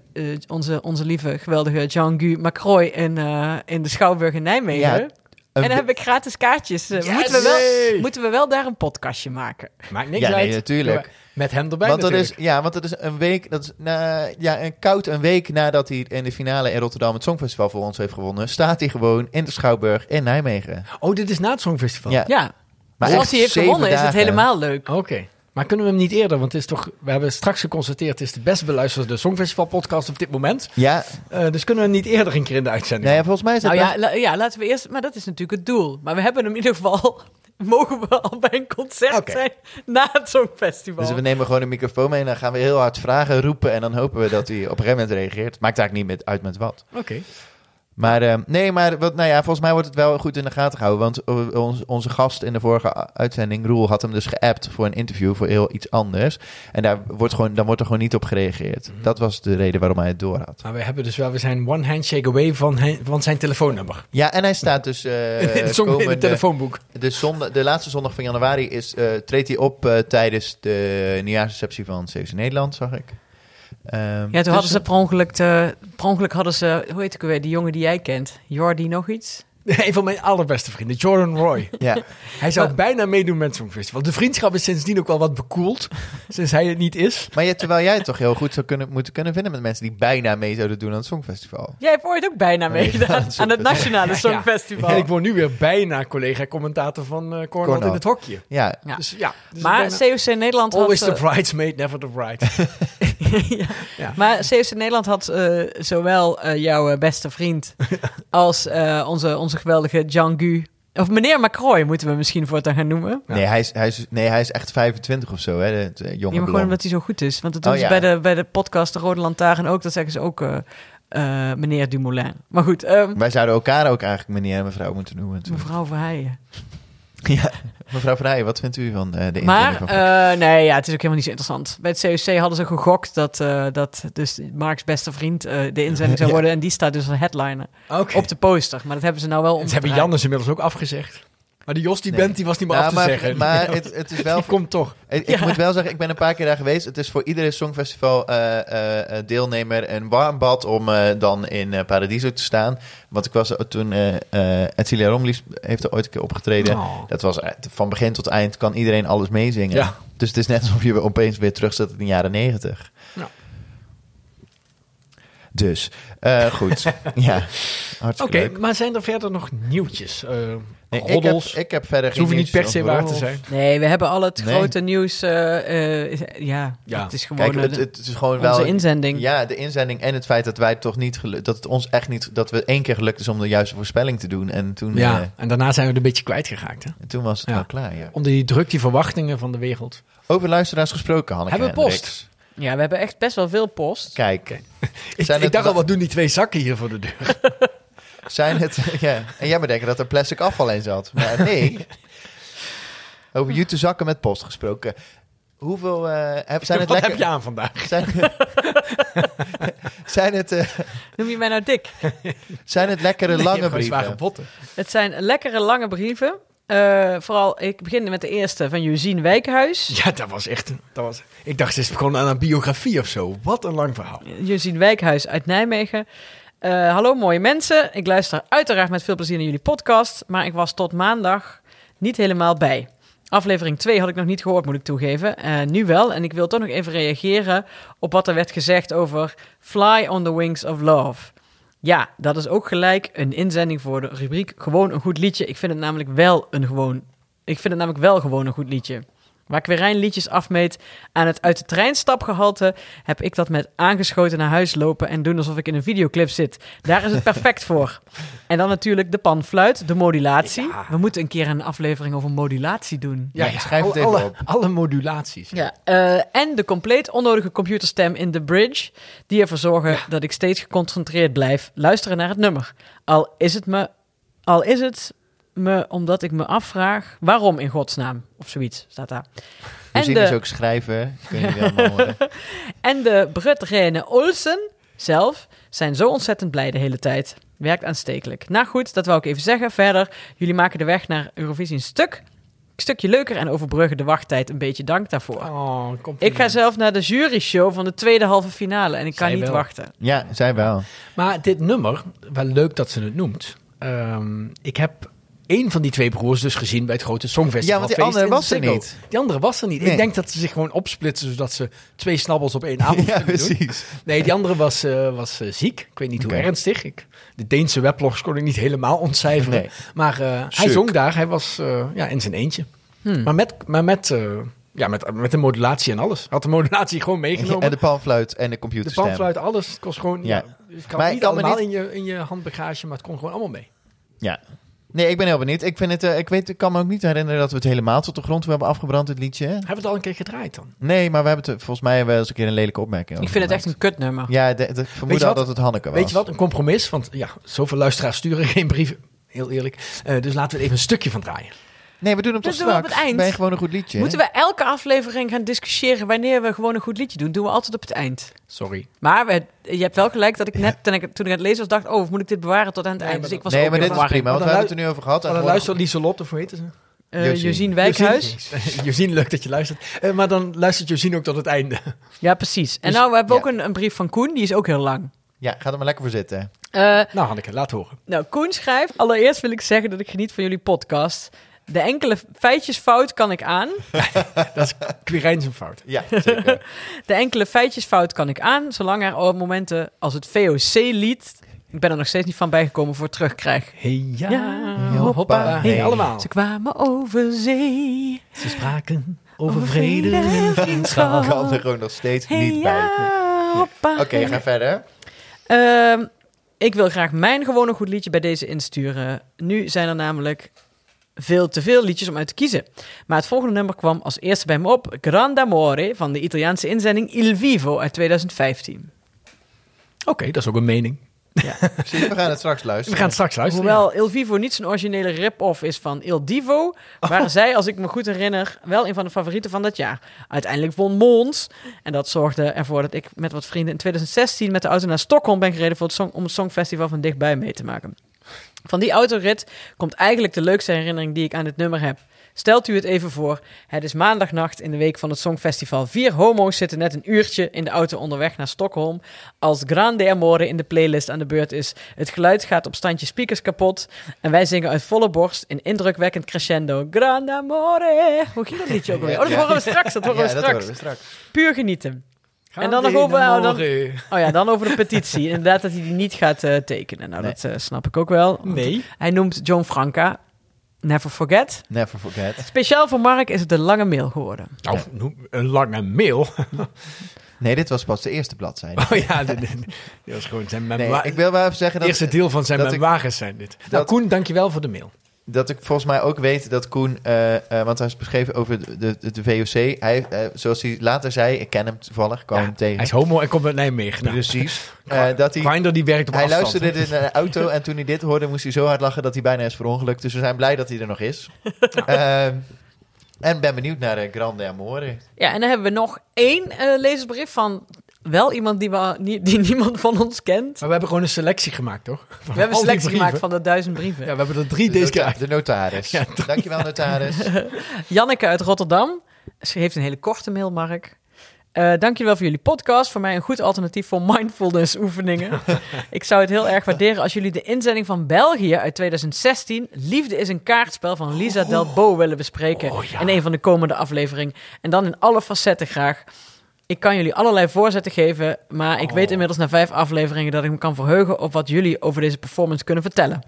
onze, onze lieve, geweldige Jean-Guy Macroy in, eh, in de Schouwburg in Nijmegen. Ja, en dan heb ik gratis kaartjes. Eh, Yes! moeten, we wel, Yay! moeten we wel daar een podcastje maken? Maakt niks Ja, nee, uit. natuurlijk. Met hem erbij want dat natuurlijk. is, ja, want dat is een week, dat is na, ja, een koud een week nadat hij in de finale in Rotterdam het Songfestival voor ons heeft gewonnen, staat hij gewoon in de Schouwburg in Nijmegen. Oh, dit is na het Songfestival? Ja. Ja. Maar Zoals echt hij heeft zeven gewonnen is het dagen. helemaal leuk. Oké. Maar kunnen we hem niet eerder? Want het is toch, we hebben straks geconstateerd, het is de best beluisterde Songfestival podcast op dit moment. Ja, Eh, dus kunnen we hem niet eerder een keer in de uitzending? nou ja, volgens mij is het Nou ja, la- ja, laten we eerst... Maar dat is natuurlijk het doel. Maar we hebben hem in ieder geval... (laughs) Mogen we al bij een concert Oké. zijn na het Songfestival? Dus we nemen gewoon een microfoon mee en dan gaan we heel hard vragen roepen. En dan hopen we dat hij op een gegeven moment reageert. Maakt eigenlijk niet met, uit met wat. Oké. Maar eh, nee, maar wat, nou ja, volgens mij wordt het wel goed in de gaten gehouden. Want eh, ons, onze gast in de vorige a- uitzending, Roel, had hem dus geappt voor een interview voor heel iets anders. En daar wordt gewoon, dan wordt er gewoon niet op gereageerd. Mhm. Dat was de reden waarom hij het door had. Maar we hebben dus wel, we zijn one handshake away van, he- van zijn telefoonnummer. Ja, en hij staat dus. eh, in, (laughs) het song- in komende- het telefoonboek. De, zondag, de laatste zondag van januari is, eh, treedt hij op eh, tijdens de nieuwjaarsreceptie van CFC Nederland, zag ik. Ehm, Ja, dus- toen hadden ze per ongeluk, te, per ongeluk hadden ze, hoe heet ik weer, die jongen die jij kent, Jordi nog (laughs) iets? Een van mijn allerbeste vrienden, Jordan (laughs) Roy. Ja, Hij zou bijna meedoen met het Songfestival. De vriendschap is sindsdien ook wel wat (laughs) bekoeld, sinds hij het niet is. maar ja, terwijl jij het toch heel goed zou kunnen, moeten kunnen vinden met mensen die bijna mee zouden doen aan het Songfestival. Jij hebt ooit ook bijna Nee, meegedaan dat is aan het super. Nationale Ja, ja. Songfestival. En ik word nu weer bijna collega-commentator van eh Cornel Cornel. in het hokje. Ja, Ja. Dus ja. dus Maar ik ben- COC Nederland had... Always the eh, bridesmaid, never the (laughs) bride. (laughs) ja. Maar CFC Nederland had eh, zowel eh, jouw eh, beste (laughs) vriend als eh, onze, onze geweldige Jean-Gu. Of meneer Macroy moeten we misschien voortaan gaan noemen. Ja. Nee, hij is, hij is, nee, hij is echt 25 of zo, hè, het eh, jonge Ja, maar gewoon blond. omdat hij zo goed is. Want dat doen Oh, ze ja. bij, de, bij de podcast De Rode Lantaarn ook. Dat zeggen ze ook eh, eh, meneer Dumoulin. Maar goed, ehm, Wij zouden elkaar ook eigenlijk meneer en mevrouw moeten noemen. toen. mevrouw Verheijen. Ja. Mevrouw Vrijen, wat vindt u van eh, de inzending Maar van eh, nee, ja, het is ook helemaal niet zo interessant. Bij het COC hadden ze gegokt dat, eh, dat dus Mark's beste vriend eh, de inzending zou Ja. worden. En die staat dus als headliner Oké. op de poster. Maar dat hebben ze nou wel Dat hebben omgedraaid. Jannes inmiddels ook afgezegd. Maar die Jos, die Nee. band, die was niet meer Nou, af te maar, zeggen. (laughs) Maar het, het is (laughs) wel die komt toch. Ik, ik Ja. moet wel zeggen, ik ben een paar keer daar geweest. Het is voor iedere Songfestival eh, eh, eh, deelnemer een warm bad om eh, dan in eh, Paradiso te staan. Want ik was er toen, eh eh Etzilia Romlies heeft er ooit een keer opgetreden. Oh. Dat was eh, van begin tot eind kan iedereen alles meezingen. Ja. Dus het is net alsof je opeens weer terug zit in de jaren negentig. Ja. Dus, (laughs) eh, goed. ja, hartstikke Oké, leuk. maar zijn er verder nog nieuwtjes? Eh Nee, ik, heb, roddels? ik heb verder Ze hoeven niet nieuws per se over waar te roddels. zijn. Nee, we hebben al het Nee. grote nieuws. eh, eh, ja, Ja. het is gewoon Kijk, het, eh, het is gewoon onze wel inzending. Ja, de inzending en het feit dat wij toch niet gelu- dat het ons echt niet dat we één keer gelukt is om de juiste voorspelling te doen en toen Ja, eh, en daarna zijn we het een beetje kwijtgeraakt. Hè? toen was het Ja. wel klaar. Ja. Onder die druk, die verwachtingen van de wereld. Over luisteraars gesproken, Hanneke. Hebben we post? Hendricks. Ja, we hebben echt best wel veel post. Kijk, Ik, Zijn ik het- dacht al, wat doen die twee zakken hier voor de deur? zijn (laughs) het ja. En jij bedenkt dat er plastic afval in zat, maar nee. Over jute zakken met post gesproken. Hoeveel eh, heb, zijn (laughs) het wat lekker? heb je aan (laughs) vandaag? Zijn, zijn, het, eh, Noem je mij nou dik? zijn het lekkere Nee, je lange hebt gewoon zware brieven? botten. Het zijn lekkere lange brieven. Eh, vooral, ik begin met de eerste van Josien Wijkhuis. Ja, dat was echt... Dat was, ik dacht, ze is begonnen aan een biografie of zo. Wat een lang verhaal. Josien Wijkhuis uit Nijmegen. Eh, hallo mooie mensen, ik luister uiteraard met veel plezier naar jullie podcast, maar ik was tot maandag niet helemaal bij. Aflevering 2 had ik nog niet gehoord, moet ik toegeven. Eh, nu wel, en ik wil toch nog even reageren op wat er werd gezegd over Fly on the Wings of Love. Ja, dat is ook gelijk een inzending voor de rubriek Gewoon een goed liedje. Ik vind het namelijk wel een gewoon. Ik vind het namelijk wel gewoon een goed liedje. Waar Querijn liedjes afmeet aan het uit de trein stapgehalte, heb ik dat met aangeschoten naar huis lopen en doen alsof ik in een videoclip zit. Daar is het perfect voor. En dan natuurlijk de panfluit, de modulatie. Ja. We moeten een keer een aflevering over modulatie doen. Ja, schrijf alle- het even Oh, alle, op. Alle modulaties. Ja, eh, en de compleet onnodige computerstem in The Bridge, die ervoor zorgen dat ik steeds geconcentreerd blijf luisteren naar het nummer. Al is het me, al is het me omdat ik me afvraag waarom in godsnaam, of zoiets, staat daar. En Josien de, is ook schrijver. Kun je wel horen. en de Brut Rene Olsen, zelf zijn zo ontzettend blij de hele tijd. Werkt aanstekelijk. Nou goed, dat wou ik even zeggen. Verder, jullie maken de weg naar Eurovisie een stuk, een stukje leuker en overbruggen de wachttijd een beetje. Dank daarvoor. Oh, compliment. Ik ga zelf naar de juryshow van de tweede halve finale en ik kan Zij niet wel. wachten. Ja, zij wel. Maar dit nummer, wel leuk dat ze het noemt. Ehm, ik heb één van die twee broers dus gezien bij het grote Songfestival. Ja, want die feest andere in was er Ziggo. niet. Die andere was er niet. Nee. Ik denk dat ze zich gewoon opsplitsen zodat ze twee snabbels op één avond (laughs) Ja, kunnen doen. precies. Nee, die andere was, eh, was eh, ziek. Ik weet niet Oké. hoe ernstig. Ik, de Deense weblogs kon ik niet helemaal ontcijferen. Nee. Maar eh, hij Suk. zong daar. Hij was eh, ja, in zijn eentje. Hmm. Maar, met, maar met, eh, ja, met, met de modulatie en alles. Hij Had de modulatie gewoon meegenomen. En de panfluit en de De computerstem. panfluit, alles. Het kost gewoon... Ja. Ja. het kan Maar ik niet kan me allemaal niet- In, je, in je handbagage, maar het kon gewoon allemaal mee. Ja. Nee, ik ben heel benieuwd. Ik, vind het, eh, ik, weet, ik kan me ook niet herinneren dat we het helemaal tot de grond toe hebben afgebrand, het liedje. Hebben we het al een keer gedraaid dan? Nee, maar we hebben het eh, volgens mij wel eens een keer een lelijke opmerking Ik over vind het echt gemaakt. een kutnummer. Ja, de- de- ik vermoed je al wat? dat het Hanneke was. Weet je wat? Een compromis. Want ja, zoveel luisteraars sturen (laughs) geen brieven. Heel eerlijk. Eh, dus laten we er even een stukje van draaien. Nee, we doen hem Dat toch doen we op straks. het eind. Bij gewoon een goed liedje. Moeten we elke aflevering gaan discussiëren wanneer we gewoon een goed liedje doen? Doen we altijd op het eind. Sorry. Maar we- je hebt wel gelijk dat ik net toen ik, toen ik aan het lezen was dacht... oh, of moet ik dit bewaren tot aan het Nee, eind? maar Dus ik was nee, ook maar in dit is verwarring. prima, want we Want dan hebben het er nu over gehad. en Maar dan luistert gewoon- Lieselot, of hoe heet ze? Eh, Josien. Josien Wijkhuis. Josien, leuk dat (laughs) je luistert. Eh, maar dan luistert Josien ook tot het einde. (laughs) Ja, precies. En nou, we hebben Dus- ja. ook een, een brief van Koen. Die is ook heel lang. Ja, ga er maar lekker voor zitten. Eh, Nou, Hanneke, laat horen. Nou, Koen schrijft... Allereerst wil ik zeggen dat ik geniet van jullie podcast. De enkele feitjes fout kan ik aan. Dat is Quirijn zijn fout. Ja, (laughs) zeker. De enkele feitjes fout kan ik aan, zolang er op momenten als het VOC-lied... Ik ben er nog steeds niet van bijgekomen voor terugkrijg. Hey, ja. Ja, hoppa. hoppa. Hey, Nee. allemaal. Ze kwamen over zee. Ze spraken over, vrede en vriendschap. Ik kan er gewoon nog steeds Hey, niet bij. ja, hoppa. Oké, (laughs) ga verder. Ehm, ik wil graag mijn gewone goed liedje bij deze insturen. Nu zijn er namelijk veel te veel liedjes om uit te kiezen. Maar het volgende nummer kwam als eerste bij me op. Grand Amore van de Italiaanse inzending Il Vivo uit 2015. Oké, dat is ook een mening. Precies, we gaan het straks We luisteren. gaan het straks luisteren. Hoewel Il Vivo niet zijn originele rip-off is van Il Divo, waren zij, als ik me goed herinner, wel een van de favorieten van dat jaar. Uiteindelijk won Mons. En dat zorgde ervoor dat ik met wat vrienden in 2016 met de auto naar Stockholm ben gereden voor het song, om het Songfestival van dichtbij mee te maken. Van die autorit komt eigenlijk de leukste herinnering die ik aan dit nummer heb. Stelt u het even voor. Het is maandagnacht in de week van het Songfestival. Vier homo's zitten net een uurtje in de auto onderweg naar Stockholm. Als Grande Amore in de playlist aan de beurt is. Het geluid gaat op standje speakers kapot. En wij zingen uit volle borst in indrukwekkend crescendo. Grande Amore. Hoe ging dat liedje ook alweer? Oh, dat Ja. horen we straks. Dat horen ja, we dat straks. horen we straks. Puur genieten. En dan Gaan nog over- naar oh, dan- morgen. Oh ja, dan over de petitie. Inderdaad dat hij die niet gaat eh, tekenen. Nou, Nee. dat eh, snap ik ook wel. Nee. Hij noemt John Franca. Never forget. Never forget. Speciaal voor Mark is het een lange mail geworden. Nou, noem- een lange mail. Nee, dit was pas de eerste bladzijde. (laughs) Oh (laughs) ja, dit, dit- dit was gewoon zijn Nee, memoir. ik wil wel even zeggen Het dat... eerste deel van zijn dat ik- memoires zijn dit. Nou, dat- Koen, dankjewel voor de mail. dat ik volgens mij ook weet dat Koen, eh, eh, want hij is beschreven over de, de, de VOC. Hij, eh, zoals hij later zei, ik ken hem toevallig, ik kwam Ja, hem tegen. Hij is homo en komt uit Nijmegen. Nou, Precies. Eh, dat hij, Grindr, die werkt op hij afstand. luisterde in een auto en toen hij dit hoorde, moest hij zo hard lachen dat hij bijna is verongelukt. Dus we zijn blij dat hij er nog (laughs) is. Ehm, en ben benieuwd naar eh, Grande Amore. Ja, en dan hebben we nog één eh, lezersbrief van wel iemand die, we, nie- die niemand van ons kent. Maar we hebben gewoon een selectie gemaakt, toch? We hebben een selectie gemaakt van de duizend Ja, brieven. we hebben er drie De, deze keer nota- uit. de (laughs) notaris. Ja, toch? Dankjewel, (laughs) notaris. Janneke uit Rotterdam. Ze heeft een hele korte mail, Mark. Eh dankjewel voor jullie podcast. Voor mij een goed alternatief voor mindfulness oefeningen. Ik zou het heel erg waarderen als jullie de inzending van België uit 2016... Liefde is een kaartspel van Lisa Delbo willen bespreken... in een van de komende afleveringen. En dan in alle facetten graag. Ik kan jullie allerlei voorzetten geven... maar ik weet inmiddels na vijf afleveringen dat ik me kan verheugen... op wat jullie over deze performance kunnen vertellen.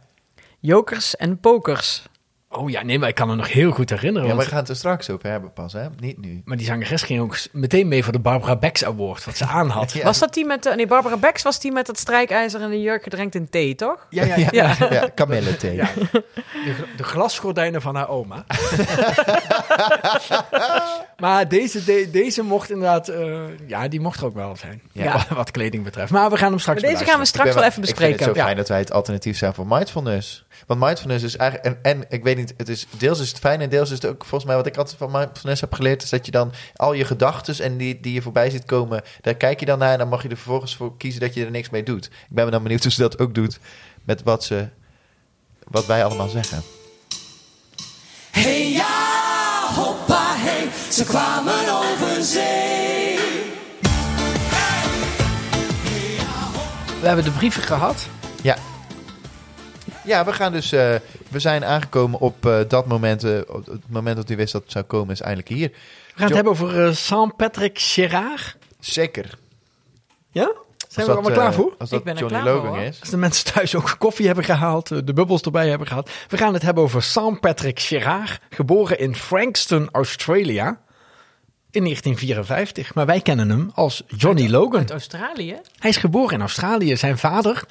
Jokers en pokers. Oh ja, nee, maar ik kan me nog heel goed herinneren. Ja, maar want- we gaan het er straks over hebben pas, hè? Niet nu. maar die zangeres ging ook s- meteen mee voor de Barbara Becks Award, wat ze aan (laughs) had. Ja. Was dat die met... de- nee, Barbara Becks was die met dat strijkijzer en de jurk gedrenkt in thee, toch? Ja, ja, Ja, Ja. (laughs) ja Camille thee. Ja. De, de glasgordijnen van haar oma. (laughs) maar deze, de- deze mocht inderdaad... eh, ja, die mocht er ook wel zijn. Ja. Wat, (laughs) wat kleding betreft. Maar we gaan hem straks Maar deze gaan we beluisteren. Ik straks ben wel even Ik vind het bespreken. zo fijn dat wij het alternatief zijn voor mindfulness. Want mindfulness is eigenlijk... En, en ik weet weet niet, het is, deels is het fijn en deels is het ook volgens mij wat ik altijd van mindfulness heb geleerd, is dat je dan al je gedachten en die, die je voorbij ziet komen, daar kijk je dan naar en dan mag je er vervolgens voor kiezen dat je er niks mee doet. Ik ben me dan benieuwd hoe ze dat ook doet met wat, ze, wat wij allemaal zeggen. Hey ja, hoppa hey, ze kwamen over zee. We hebben de brieven gehad. Ja, we gaan dus, eh, we zijn aangekomen op eh, dat moment, eh, op het moment dat u wist dat het zou komen, is eindelijk hier. We gaan het hebben over eh, Saint-Patrick Gerard. Zeker. Ja? Als Zijn dat, we er allemaal eh, klaar voor? Als Ik dat ben er Johnny klaar voor, Logan hoor. is. Als de mensen thuis ook koffie hebben gehaald, eh, de bubbels erbij hebben gehad. We gaan het hebben over Sam Patrick Gerard, geboren in Frankston, Australia in 1954. Maar wij kennen hem als Johnny Logan. Uit Australië? Hij is geboren in Australië. Zijn vader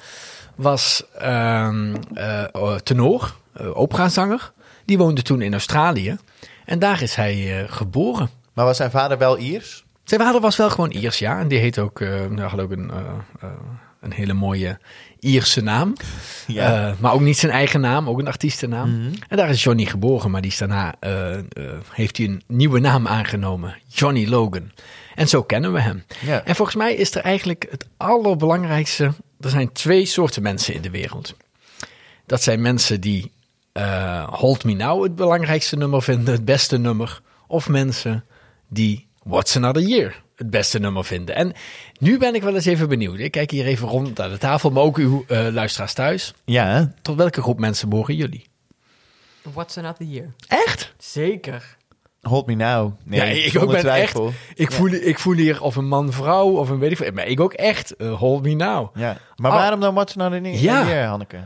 was ehm eh, eh, tenor, eh, operazanger. Die woonde toen in Australië. En daar is hij eh, geboren. Maar was zijn vader wel Iers? Zijn vader was wel gewoon Iers, ja. En die heet ook, eh, nou, had ook een, eh, eh, een hele mooie Ierse naam. Eh, maar ook niet zijn eigen naam, ook een artiestennaam. En daar is Johnny geboren, maar die is daarna, eh, eh, heeft hij een nieuwe naam aangenomen. Johnny Logan. En zo kennen we hem. Ja. En volgens mij is er eigenlijk het allerbelangrijkste... Er zijn twee soorten mensen in de wereld. Dat zijn mensen die eh, Hold Me Now het belangrijkste nummer vinden, het beste nummer. Of mensen die What's Another Year het beste nummer vinden. En nu ben ik wel eens even benieuwd. Ik kijk hier even rond aan de tafel, maar ook uw eh, luisteraars thuis. Ja. Tot welke groep mensen behoren jullie? What's another year? Echt? Zeker. Hold me now. Nee, Ja, ik zonder ook ben twijfel. Ik, voel, ik voel hier of een man, vrouw of een weet ik veel. Maar ik ook echt. eh, hold me now. Ja. Maar Oh. waarom dan What's Not in Here, Ja. Hanneke?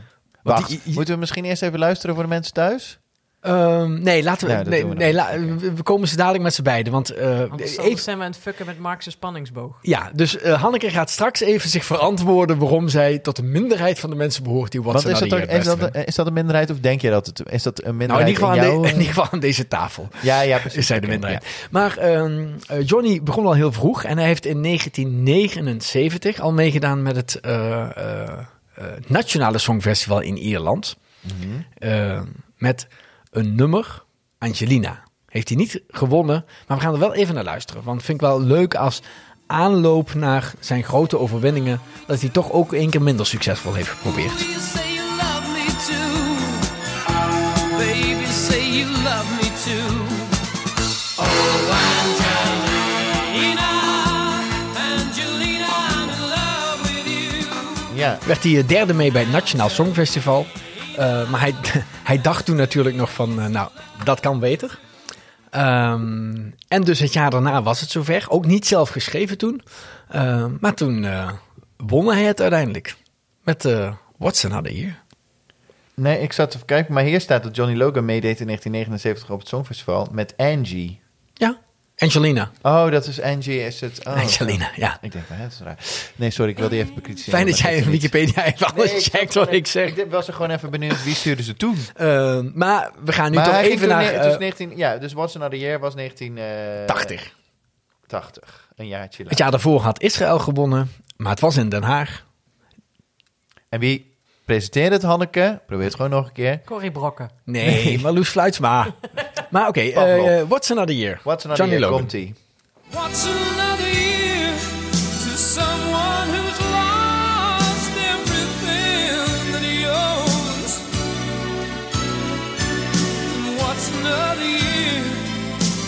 Wacht, die- die- moeten we misschien eerst even luisteren voor de mensen thuis? Ehm, nee, laten we. Ja, dat nee, doen we dan. nee, la- we komen ze dadelijk met z'n beiden. Want eh, Anders even, zijn we aan het fucken met Mark's spanningsboog. Ja, dus eh, Hanneke gaat straks even zich verantwoorden waarom zij tot de minderheid van de mensen behoort die Want WhatsApp is dat, ook, is, dat, Nou, Nou, is dat een minderheid of denk je dat het... Is dat een in minderheid ieder, geval aan jouw... de- in ieder geval aan deze tafel Ja, ja, precies. is (laughs) zij de Oké, minderheid. Maar ehm, eh, Johnny begon al heel vroeg en hij heeft in 1979 al meegedaan met het eh, eh, eh, Nationale Songfestival in Ierland. Eh, met een nummer, Angelina. Heeft hij niet gewonnen, maar we gaan er wel even naar luisteren. Want vind ik wel leuk als aanloop naar zijn grote overwinningen... dat hij toch ook één keer minder succesvol heeft geprobeerd. You say you love me too. Baby, say you love me too. Oh, Angelina, Angelina, I'm in love with you. Ja. Ja. werd hij eh, derde mee bij het Nationaal Songfestival. Eh, maar hij, (laughs) hij dacht toen natuurlijk nog van, eh, nou, dat kan beter. Ehm, en dus het jaar daarna was het zover. Ook niet zelf geschreven toen. Ehm, maar toen eh, won hij het uiteindelijk. Met eh What's Another Year. Nee, ik zat te kijken, maar hier staat dat Johnny Logan meedeed in 1979 op het Songfestival met Angie. Ja, Angelina. Oh, dat is Angie, is het... oh. Angelina, ja. Ik denk, hè, dat is raar. Nee, sorry, ik wilde die even bekritiseren. Fijn dat maar jij in is niet. Wikipedia even alles Nee, ik checkt zat wat gewoon- ik zeg. Ik was er gewoon even benieuwd, wie stuurde ze toen? Ehm, maar we gaan nu maar toch hij ging even toen naar... neer- het was eh, 19, ja, dus What's Another Year was 1980. 80. 80. Een jaartje Het later. jaar daarvoor had Israël gewonnen. Maar het was in Den Haag. En wie presenteerde het, Hanneke? Probeer het gewoon nog een keer. Corrie Brokken. Nee, Marloes Fluitsma. maar oké, eh Pavlov. eh, What's Another Year? What's Another Johnny Year? Logan. Komt-ie. What's another year to someone who's lost everything that he owns? And what's another year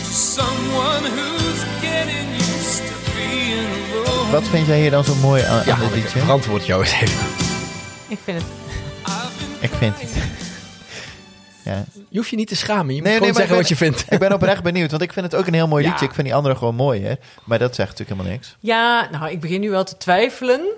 to someone who's getting used to being alone? Wat vind jij hier dan zo mooi aan, Ja, aan dit Hanneke, liedje? verantwoord jou eens even. Ik vind het... I've been Ik vind crying. het... Ja. (laughs) Je hoeft je niet te schamen. Je moet Nee, gewoon nee, zeggen maar wat ik je vindt. (laughs) Ik ben oprecht benieuwd, want ik vind het ook een heel mooi Ja. liedje. Ik vind die andere gewoon mooi, hè? Maar dat zegt natuurlijk helemaal niks. Ja, nou, ik begin nu wel te twijfelen. (laughs)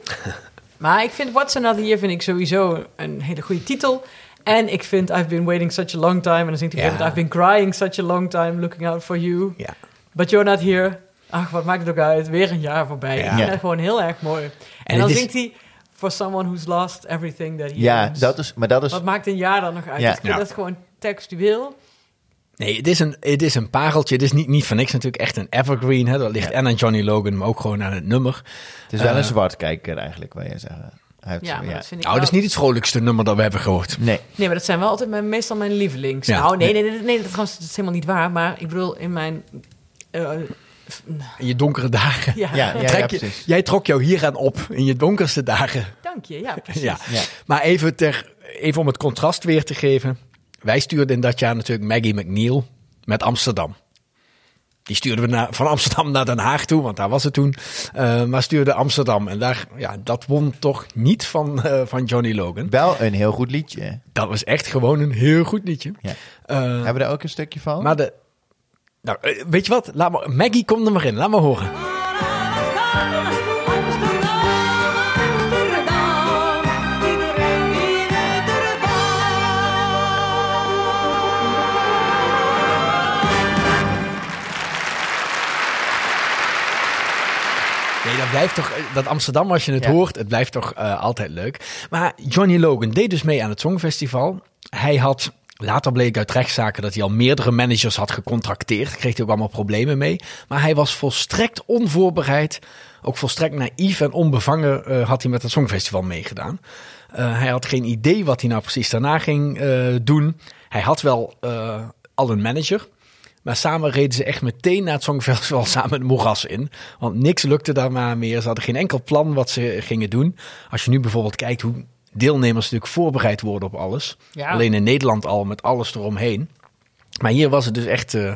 Maar ik vind What's Another Year vind ik sowieso een hele goede titel. En ik vind I've Been Waiting Such a Long Time. En dan zingt hij op een Ja. gegeven moment, I've Been Crying Such a Long Time, Looking Out For You. Ja. But You're Not Here. Ach, wat maakt het ook uit. Weer een jaar voorbij. (laughs) Ik vind Ja. dat gewoon heel erg mooi. En, het dan is- zingt hij... For someone who's lost everything that he Ja, owns. dat is... Maar dat is... Wat maakt een jaar dan nog uit? Ja. ik vind Ja. dat gewoon textueel. Nee, het is een, het is een pareltje. Het is niet, niet van niks natuurlijk echt een evergreen. Hè. Dat ligt en aan Johnny Logan, maar ook gewoon aan het nummer. Het is wel Eh, een zwartkijker eigenlijk, wil je zeggen. Hij heeft- Ja, maar ja. dat vind ik Nou, dat is wel- niet het vrolijkste nummer dat we hebben gehoord. Nee, Nee, maar dat zijn wel altijd mijn, meestal mijn lievelings. Ja. Nou, nee, nee, nee, nee, dat, trouwens, dat is helemaal niet waar. Maar ik bedoel, in mijn... eh, In je donkere dagen. ja, ja, ja, ja, Trek je- precies. jij trok jou hieraan op in je donkerste dagen. (laughs) dank je. Ja, precies. Ja. Ja. Maar even, ter, even om het contrast weer te geven. Wij stuurden in dat jaar natuurlijk Maggie McNeil met Amsterdam. Die stuurden we naar, van Amsterdam naar Den Haag toe, want daar was het toen. Eh, maar stuurde Amsterdam. En daar, ja, dat won toch niet van, eh, van Johnny Logan. Wel een heel goed liedje. Dat was echt gewoon een heel goed liedje. Ja. Eh, Hebben we daar ook een stukje van? maar de... Nou, eh, weet je wat? Laat maar, Maggie, kom er maar in. Laat maar horen. Nee, dat blijft toch, eh, dat Amsterdam als je het Ja. hoort, het blijft toch eh, altijd leuk. Maar Johnny Logan deed dus mee aan het Songfestival. Hij had, later bleek uit rechtszaken dat hij al meerdere managers had gecontracteerd. Daar kreeg hij ook allemaal problemen mee. Maar hij was volstrekt onvoorbereid, ook volstrekt naïef en onbevangen eh, had hij met het Songfestival meegedaan. Eh, hij had geen idee wat hij nou precies daarna ging eh, doen. Hij had wel eh, al een manager. Maar samen reden ze echt meteen na het Songfestival (laughs) samen het moeras in. Want niks lukte daar maar meer. Ze hadden geen enkel plan wat ze gingen doen. Als je nu bijvoorbeeld kijkt hoe deelnemers natuurlijk voorbereid worden op alles. Ja. Alleen in Nederland al met alles eromheen. Maar hier was het dus echt eh,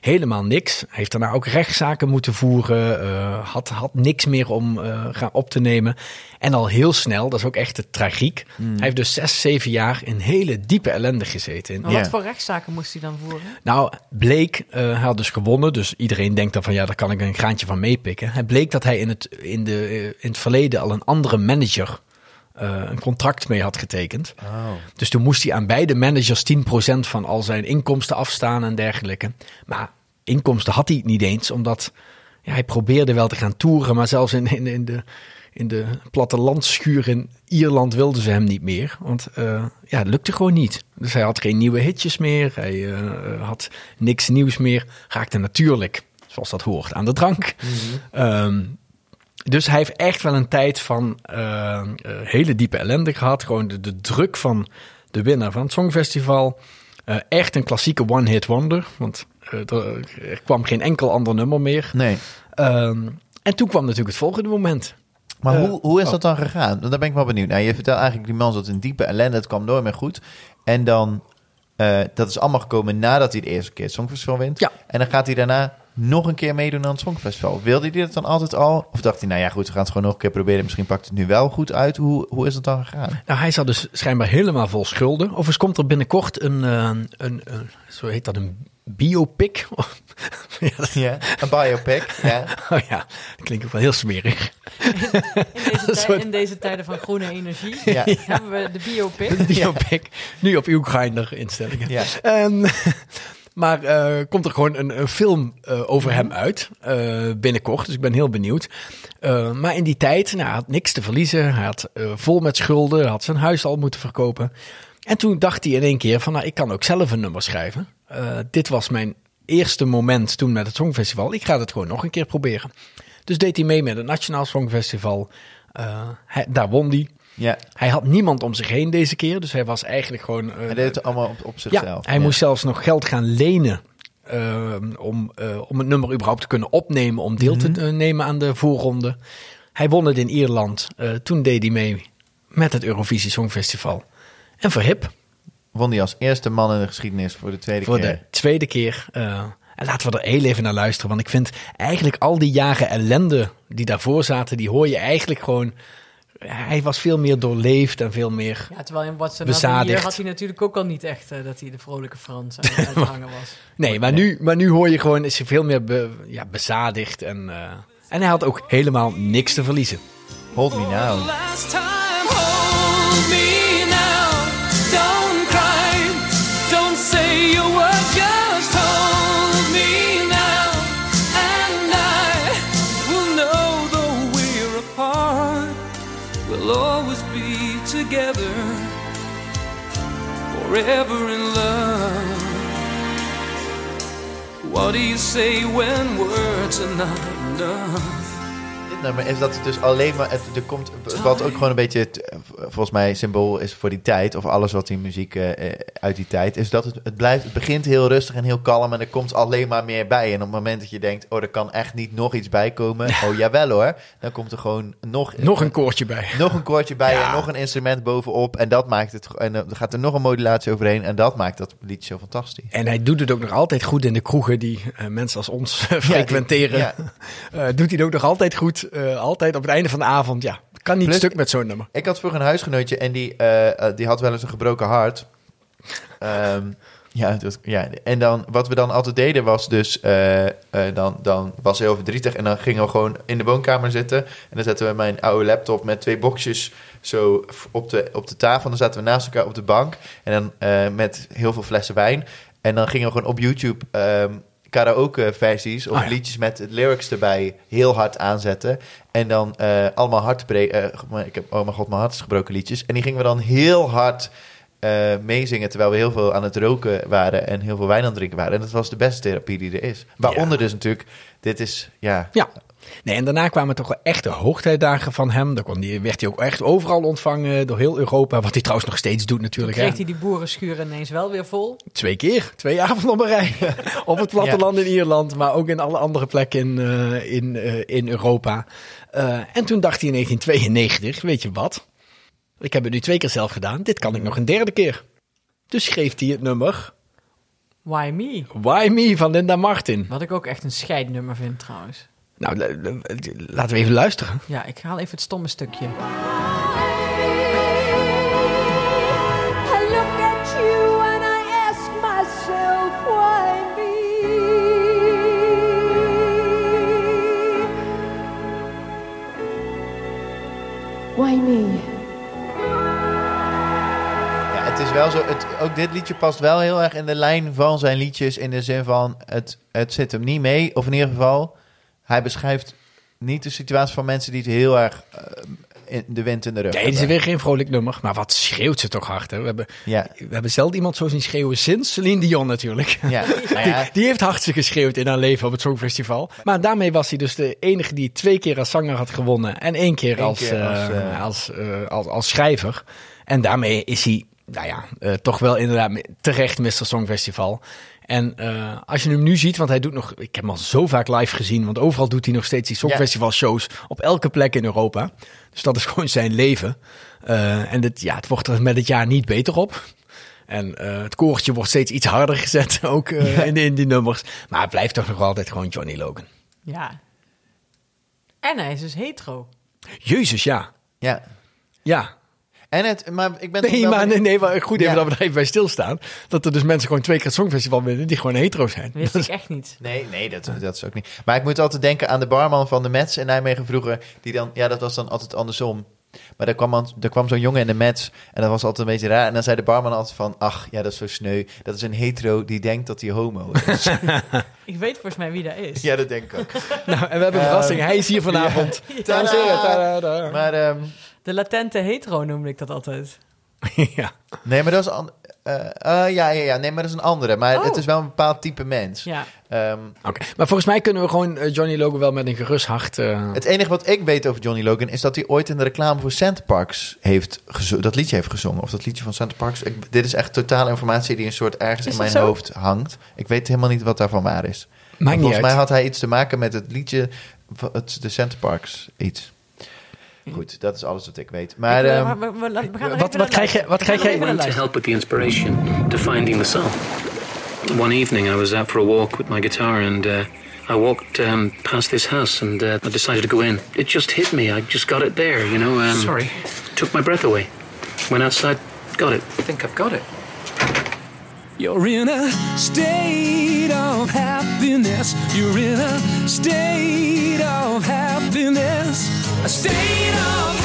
helemaal niks. Hij heeft daarna ook rechtszaken moeten voeren. eh, had, had niks meer om eh, gaan op te nemen. En al heel snel, dat is ook echt de tragiek. Hij heeft dus zes, zeven jaar in hele diepe ellende gezeten. In Maar Ja. wat voor rechtszaken moest hij dan voeren? nou, bleek, eh, hij had dus gewonnen, dus iedereen denkt dan van ja, daar kan ik een graantje van meepikken. Het bleek dat hij in het, in de, eh, in het verleden al een andere manager eh, een contract mee had getekend. Oh. Dus toen moest hij aan beide managers 10% van al zijn inkomsten afstaan en dergelijke. Maar inkomsten had hij niet eens, omdat ja, hij probeerde wel te gaan toeren, maar zelfs in, in, in de. In de plattelandschuur in Ierland wilden ze hem niet meer. Want eh, ja, het lukte gewoon niet. Dus hij had geen nieuwe hitjes meer. Hij eh, had niks nieuws meer. Raakte natuurlijk, zoals dat hoort, aan de drank. Ehm, dus hij heeft echt wel een tijd van eh, eh, hele diepe ellende gehad. Gewoon de, de druk van de winnaar van het Songfestival. Eh, echt een klassieke one-hit wonder. Want eh, er, er kwam geen enkel ander nummer meer. Nee. Ehm, en toen kwam natuurlijk het volgende moment. Maar Eh, hoe, hoe is oh. dat dan gegaan? Want Daar ben ik wel benieuwd naar. Je vertelt eigenlijk die man zat in diepe ellende, het kwam nooit meer goed. En dan, eh, dat is allemaal gekomen nadat hij de eerste keer het Songfestival wint. Ja. En dan gaat hij daarna nog een keer meedoen aan het Songfestival. Wilde hij dat dan altijd al? Of dacht hij, nou ja goed, we gaan het gewoon nog een keer proberen. Misschien pakt het nu wel goed uit. Hoe, hoe is dat dan gegaan? Nou, hij zat dus schijnbaar helemaal vol schulden. Overigens komt er binnenkort een, eh, een, een zo heet dat, een biopic. (laughs) ja, dat, Ja. Een biopic, ja. (laughs) oh ja, dat klinkt ook wel heel smerig. (laughs) In deze, tij- soort- in deze tijden van groene energie Ja. hebben we de biopic. (laughs) Een biopic, nu op uw grinder instellingen. Ja. Ehm, (laughs) maar eh, komt er gewoon een, een film eh, over hem uit eh, binnenkort. Dus ik ben heel benieuwd. Eh, maar in die tijd, nou, hij had niks te verliezen. Hij had eh, vol met schulden. Hij had zijn huis al moeten verkopen. En toen dacht hij in één keer van, nou, ik kan ook zelf een nummer schrijven. Eh, dit was mijn eerste moment toen met het Songfestival. Ik ga het gewoon nog een keer proberen. Dus deed hij mee met het Nationaal Songfestival. Eh, hij- daar won hij. ja. Hij had niemand om zich heen deze keer, dus hij was eigenlijk gewoon. eh, Hij deed het allemaal op, op ja, zichzelf. hij moest zelfs nog geld gaan lenen. ehm, om, eh, om het nummer überhaupt te kunnen opnemen, om deel Mhm. te eh, nemen aan de voorronde. Hij won het in Ierland. Eh, toen deed hij mee met het Eurovisie Songfestival. En verhip Won hij als eerste man in de geschiedenis voor de tweede voor keer. de tweede keer. eh, en laten we er heel even naar luisteren, want ik vind eigenlijk al die jaren ellende die daarvoor zaten, die hoor je eigenlijk gewoon. Hij was veel meer doorleefd en veel meer. Ja, terwijl in What's Another Bezadigd. Year had hij natuurlijk ook al niet echt eh, dat hij de vrolijke Frans aan (laughs) het uithangen was. Nee, maar nu, maar nu hoor je gewoon, is hij veel meer be- ja, bezadigd. En, eh, en hij had ook helemaal niks te verliezen. Hold me now. Last time, hold me now. Don't cry, don't say a word, just hold me now. And I will know though we're apart, we'll always be together, forever in love. What do you say when words are not enough? dit nummer is dat het dus alleen maar... Het, er komt, wat ook gewoon een beetje, het, eh, volgens mij, symbool is voor die tijd... of alles wat in muziek eh, eh, uit die tijd... is dat het, het, blijft, het begint heel rustig en heel kalm... en er komt alleen maar meer bij. En op het moment dat je denkt... oh, er kan echt niet nog iets bij komen... oh, jawel hoor, dan komt er gewoon nog... Nog een koortje bij. nog een koortje bij Ja. en nog een instrument bovenop. En dat maakt het. En eh, dan gaat er nog een modulatie overheen. En dat maakt dat lied zo fantastisch. En hij doet het ook nog altijd goed in de kroegen die eh, mensen als ons (laughs) eh, frequenteren. ja. Eh, doet hij het ook nog altijd goed. eh, altijd op het einde van de avond. Ja, kan niet Plus- stuk met zo'n nummer. Ik had vroeger een huisgenootje en die, eh, eh, die had wel eens een gebroken hart. Ehm, ja, dat, ja, en dan, wat we dan altijd deden was dus, eh, eh, dan, dan was ze heel verdrietig en dan gingen we gewoon in de woonkamer zitten. En dan zetten we mijn oude laptop met twee boxjes zo f- op de, op de tafel. En dan zaten we naast elkaar op de bank en dan eh, met heel veel flessen wijn. En dan gingen we gewoon op YouTube ehm, karaoke versies of Ah, ja. liedjes met lyrics erbij heel hard aanzetten. En dan eh, allemaal hartbreek... ik heb, oh mijn god, mijn hart is gebroken liedjes. En die gingen we dan heel hard eh, meezingen... terwijl we heel veel aan het roken waren... en heel veel wijn aan het drinken waren. En dat was de beste therapie die er is. Waaronder dus natuurlijk... Dit is, ja... Ja. Nee, en daarna kwamen toch wel echte hoogtijdagen van hem. Daar kwam die, werd hij ook echt overal ontvangen door heel Europa. Wat hij trouwens nog steeds doet natuurlijk. hè. Kreeg hij die boerenschuur ineens wel weer vol? Twee keer, twee avonden op een rij. op het platteland in Ierland, maar ook in alle andere plekken in, eh, in, eh, in Europa. Eh, en toen dacht hij in 1992, weet je wat? Ik heb het nu twee keer zelf gedaan, dit kan ik nog een derde keer. Dus schreef hij het nummer Why me? Why Me van Linda Martin. Wat ik ook echt een scheidnummer vind trouwens. Nou, l- l- laten we even luisteren. Ja, ik haal even het stomme stukje. I look at you and I ask myself, why me? Why me? Ja, het is wel zo. Het, ook dit liedje past wel heel erg in de lijn van zijn liedjes. In de zin van: het, het zit hem niet mee. Of in ieder geval, hij beschrijft niet de situatie van mensen die het heel erg eh, in de wind in de rug Nee, het is hebben. weer geen vrolijk nummer, maar wat schreeuwt ze toch hard. Hè? We, hebben, Ja, we hebben zelden iemand zo zien schreeuwen sinds Celine Dion natuurlijk. (laughs) ja. Nou (laughs) ja, Die, die heeft hard geschreeuwd in haar leven op het Songfestival. Maar daarmee was hij dus de enige die twee keer als zanger had gewonnen. En één keer, Eén als, keer eh, als, als, eh, als, als schrijver. En daarmee is hij, nou ja, eh, toch wel inderdaad me- terecht Mr. Songfestival. En eh, als je hem nu ziet, want hij doet nog, ik heb hem al zo vaak live gezien. Want overal doet hij nog steeds die Songfestival shows op elke plek in Europa. Dus dat is (laughs) gewoon zijn leven. Eh, en dit, ja, het wordt er met het jaar niet beter op. En eh, het koortje wordt steeds iets harder (laughs) gezet ook eh, in, in die nummers. Maar het blijft toch nog altijd gewoon Johnny Logan. Ja. En hij is dus hetero. Jezus, ja. ja. Ja. En het, maar ik ben toch Nee, wel maar, nee, nee, maar goed even Ja. dat we daar even bij stilstaan. Dat er dus mensen gewoon twee keer het Songfestival winnen die gewoon hetero zijn. Wist ik echt niet. Nee, nee dat, dat is ook niet. Maar ik moet altijd denken aan de barman van de Mets in Nijmegen vroeger. Die dan, ja, dat was dan altijd andersom. Maar daar kwam, an- daar kwam zo'n jongen in de Mets en dat was altijd een beetje raar. En dan zei de barman altijd van, ach, ja, dat is zo sneu. Dat is een hetero die denkt dat hij homo is. Ik weet volgens mij wie dat is. ja, dat denk ik ook. Nou, en we hebben een verrassing. Hij is hier vanavond. Tadaa! Maar, ehm, De latente hetero noemde ik dat altijd. ja. nee, maar dat is... An- eh, eh, ja, ja, ja, nee, maar dat is een andere. Maar Oh. het is wel een bepaald type mens. Ja. Ehm, Oké. Maar volgens mij kunnen we gewoon eh, Johnny Logan wel met een gerust hart... eh, het enige wat ik weet over Johnny Logan is dat hij ooit in de reclame voor Center Parks heeft gezo- dat liedje heeft gezongen. Of dat liedje van Center Parks. Ik, dit is echt totale informatie die een soort ergens Is in dat mijn zo? hoofd hangt. Ik weet helemaal niet wat daarvan waar is. maakt niet Volgens uit. mij had hij iets te maken met het liedje van het, de Center Parks. Iets. Goed, dat is alles wat ik weet. Maar, Ik, eh, ehm, maar we, we- we gaan er Wat, even wat naar krijg je? luisteren. Wat krijg Gaan jij? we even naar went to luisteren. help with the inspiration to finding the song. One evening, I was out for a walk with my guitar, and uh, I walked um, past this house, and uh, I decided to go in. It just hit me. I just got it there, you know. Um, Sorry. Took my breath away. Went outside, got it. I think I've got it. You're in a state of happiness. You're in a state of happiness. A state of happiness.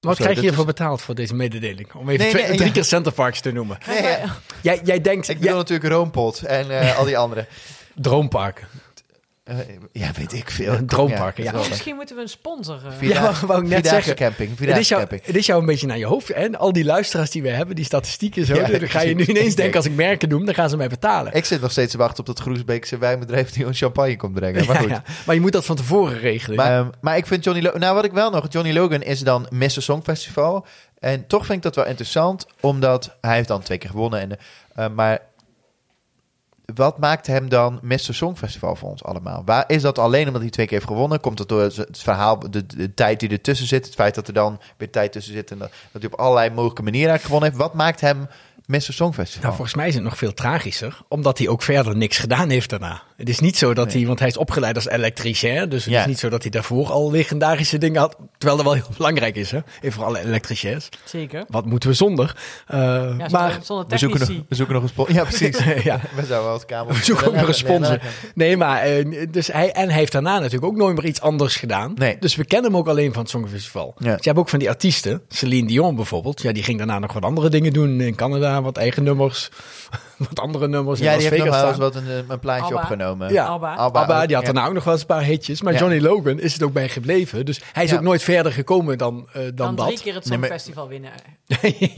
Wat Zo, krijg je dit hiervoor betaald voor deze mededeling? Om even Nee, twee- nee, drie ja. keer Center Parks te noemen. nee, ja, Jij, jij denkt... ik bedoel ja, natuurlijk Roompot en eh, al die anderen. Droomparken. Eh, ja, weet ik veel. Een droompark, ja. dat is wel Misschien moeten we een sponsor... eh, Ja, Vierdaagse- wou- wou ik net vierdaagse zeggen. camping. Het Vierdaagse is, jou, camping. het is jou een beetje naar je hoofd. En al die luisteraars die we hebben, die statistieken zo. Ja, (laughs) dan ga je nu precies. ineens denken, als ik merken noem, dan gaan ze mij betalen. Ik zit nog steeds te wachten op dat Groesbeekse wijnbedrijf die ons champagne komt brengen. Maar Ja, goed. ja. maar je moet dat van tevoren regelen. Eh, Maar, ehm, maar ik vind Johnny Logan... Nou, wat ik wel nog... Johnny Logan is dan Mr. Songfestival. En toch vind ik dat wel interessant, omdat hij heeft dan twee keer gewonnen. En, eh, maar wat maakt hem dan Mr. Songfestival voor ons allemaal? Waar is dat alleen omdat hij twee keer heeft gewonnen? Komt dat door het het verhaal, de, de tijd die ertussen zit? Het feit dat er dan weer tijd tussen zit en dat, dat hij op allerlei mogelijke manieren eigenlijk gewonnen heeft. Wat maakt hem Mr. Songfestival? Nou, volgens mij is het nog veel tragischer, omdat hij ook verder niks gedaan heeft daarna. Het is niet zo dat hij, want hij is opgeleid als elektricien, dus het Ja. is niet zo dat hij daarvoor al legendarische dingen had, terwijl dat wel heel (laughs) belangrijk is, hè? Even voor alle elektriciens. Zeker. Wat moeten we zonder? Eh, Ja, maar zonder, zonder we, zoeken nog, technici. we zoeken nog een sponsor. Ja, precies. (laughs) Ja. We zouden wel het (laughs) kabel... we zoeken ook nog een sponsor. Nee, Nee, maar eh, dus hij, en hij heeft daarna natuurlijk ook nooit meer iets anders gedaan. Nee. Dus we kennen hem ook alleen van het Songfestival. Ja. Dus je hebt ook van die artiesten, Celine Dion bijvoorbeeld. Ja, die ging daarna nog wat andere dingen doen in Canada, wat eigen nummers, (laughs) wat andere nummers. in Ja, Las die heeft nog Vegas wel eens staan. wat een, een plaatje Abba. opgenomen. Ja. Abba. Abba Abba, ook, die had ja. daarna ook nog wel eens een paar hitjes. Maar Ja. Johnny Logan is het ook bij gebleven. Dus hij is Ja. ook nooit verder gekomen dan, eh, dan, Dan, drie dat. keer het Nee, maar- Songfestival winnen.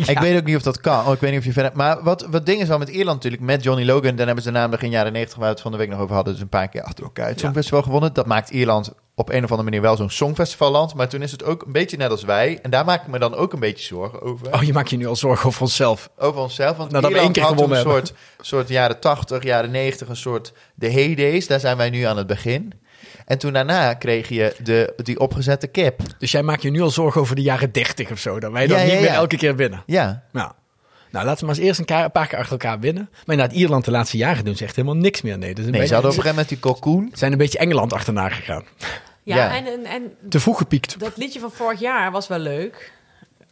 Ik weet ook niet of dat kan. Oh, ik weet niet of je verder... Maar wat, wat ding is wel met Ierland natuurlijk, met Johnny Logan... dan hebben ze namelijk in de jaren 90 waar we het van de week nog over hadden... dus een paar keer achter elkaar het Songfestival gewonnen. Dat maakt Ierland op een of andere manier wel zo'n Songfestivalland. Maar toen is het ook een beetje net als wij. En daar maak ik me dan ook een beetje zorgen over. Oh, je maakt je nu al zorgen over onszelf. Over onszelf. Want Nou, dat we Ierland één keer had toen gewonnen een soort, soort jaren 80, jaren 90, een soort de heydays. Daar zijn wij nu aan het begin. En toen daarna kreeg je de, die opgezette kip. Dus jij maakt je nu al zorgen over de jaren 30 of zo. Dat wij dan Ja, niet ja, meer ja. elke keer winnen. Ja, Nou, nou laten we maar eens eerst een, ka- een paar keer achter elkaar winnen. Maar inderdaad, Ierland de laatste jaren doen ze echt helemaal niks meer. Nee, dus een nee, ze beetje- hadden op een gegeven moment die cocoon. ze zijn een beetje Engeland achterna gegaan. Ja, Ja. En, en, en Te vroeg gepiekt. dat liedje van vorig jaar was wel leuk.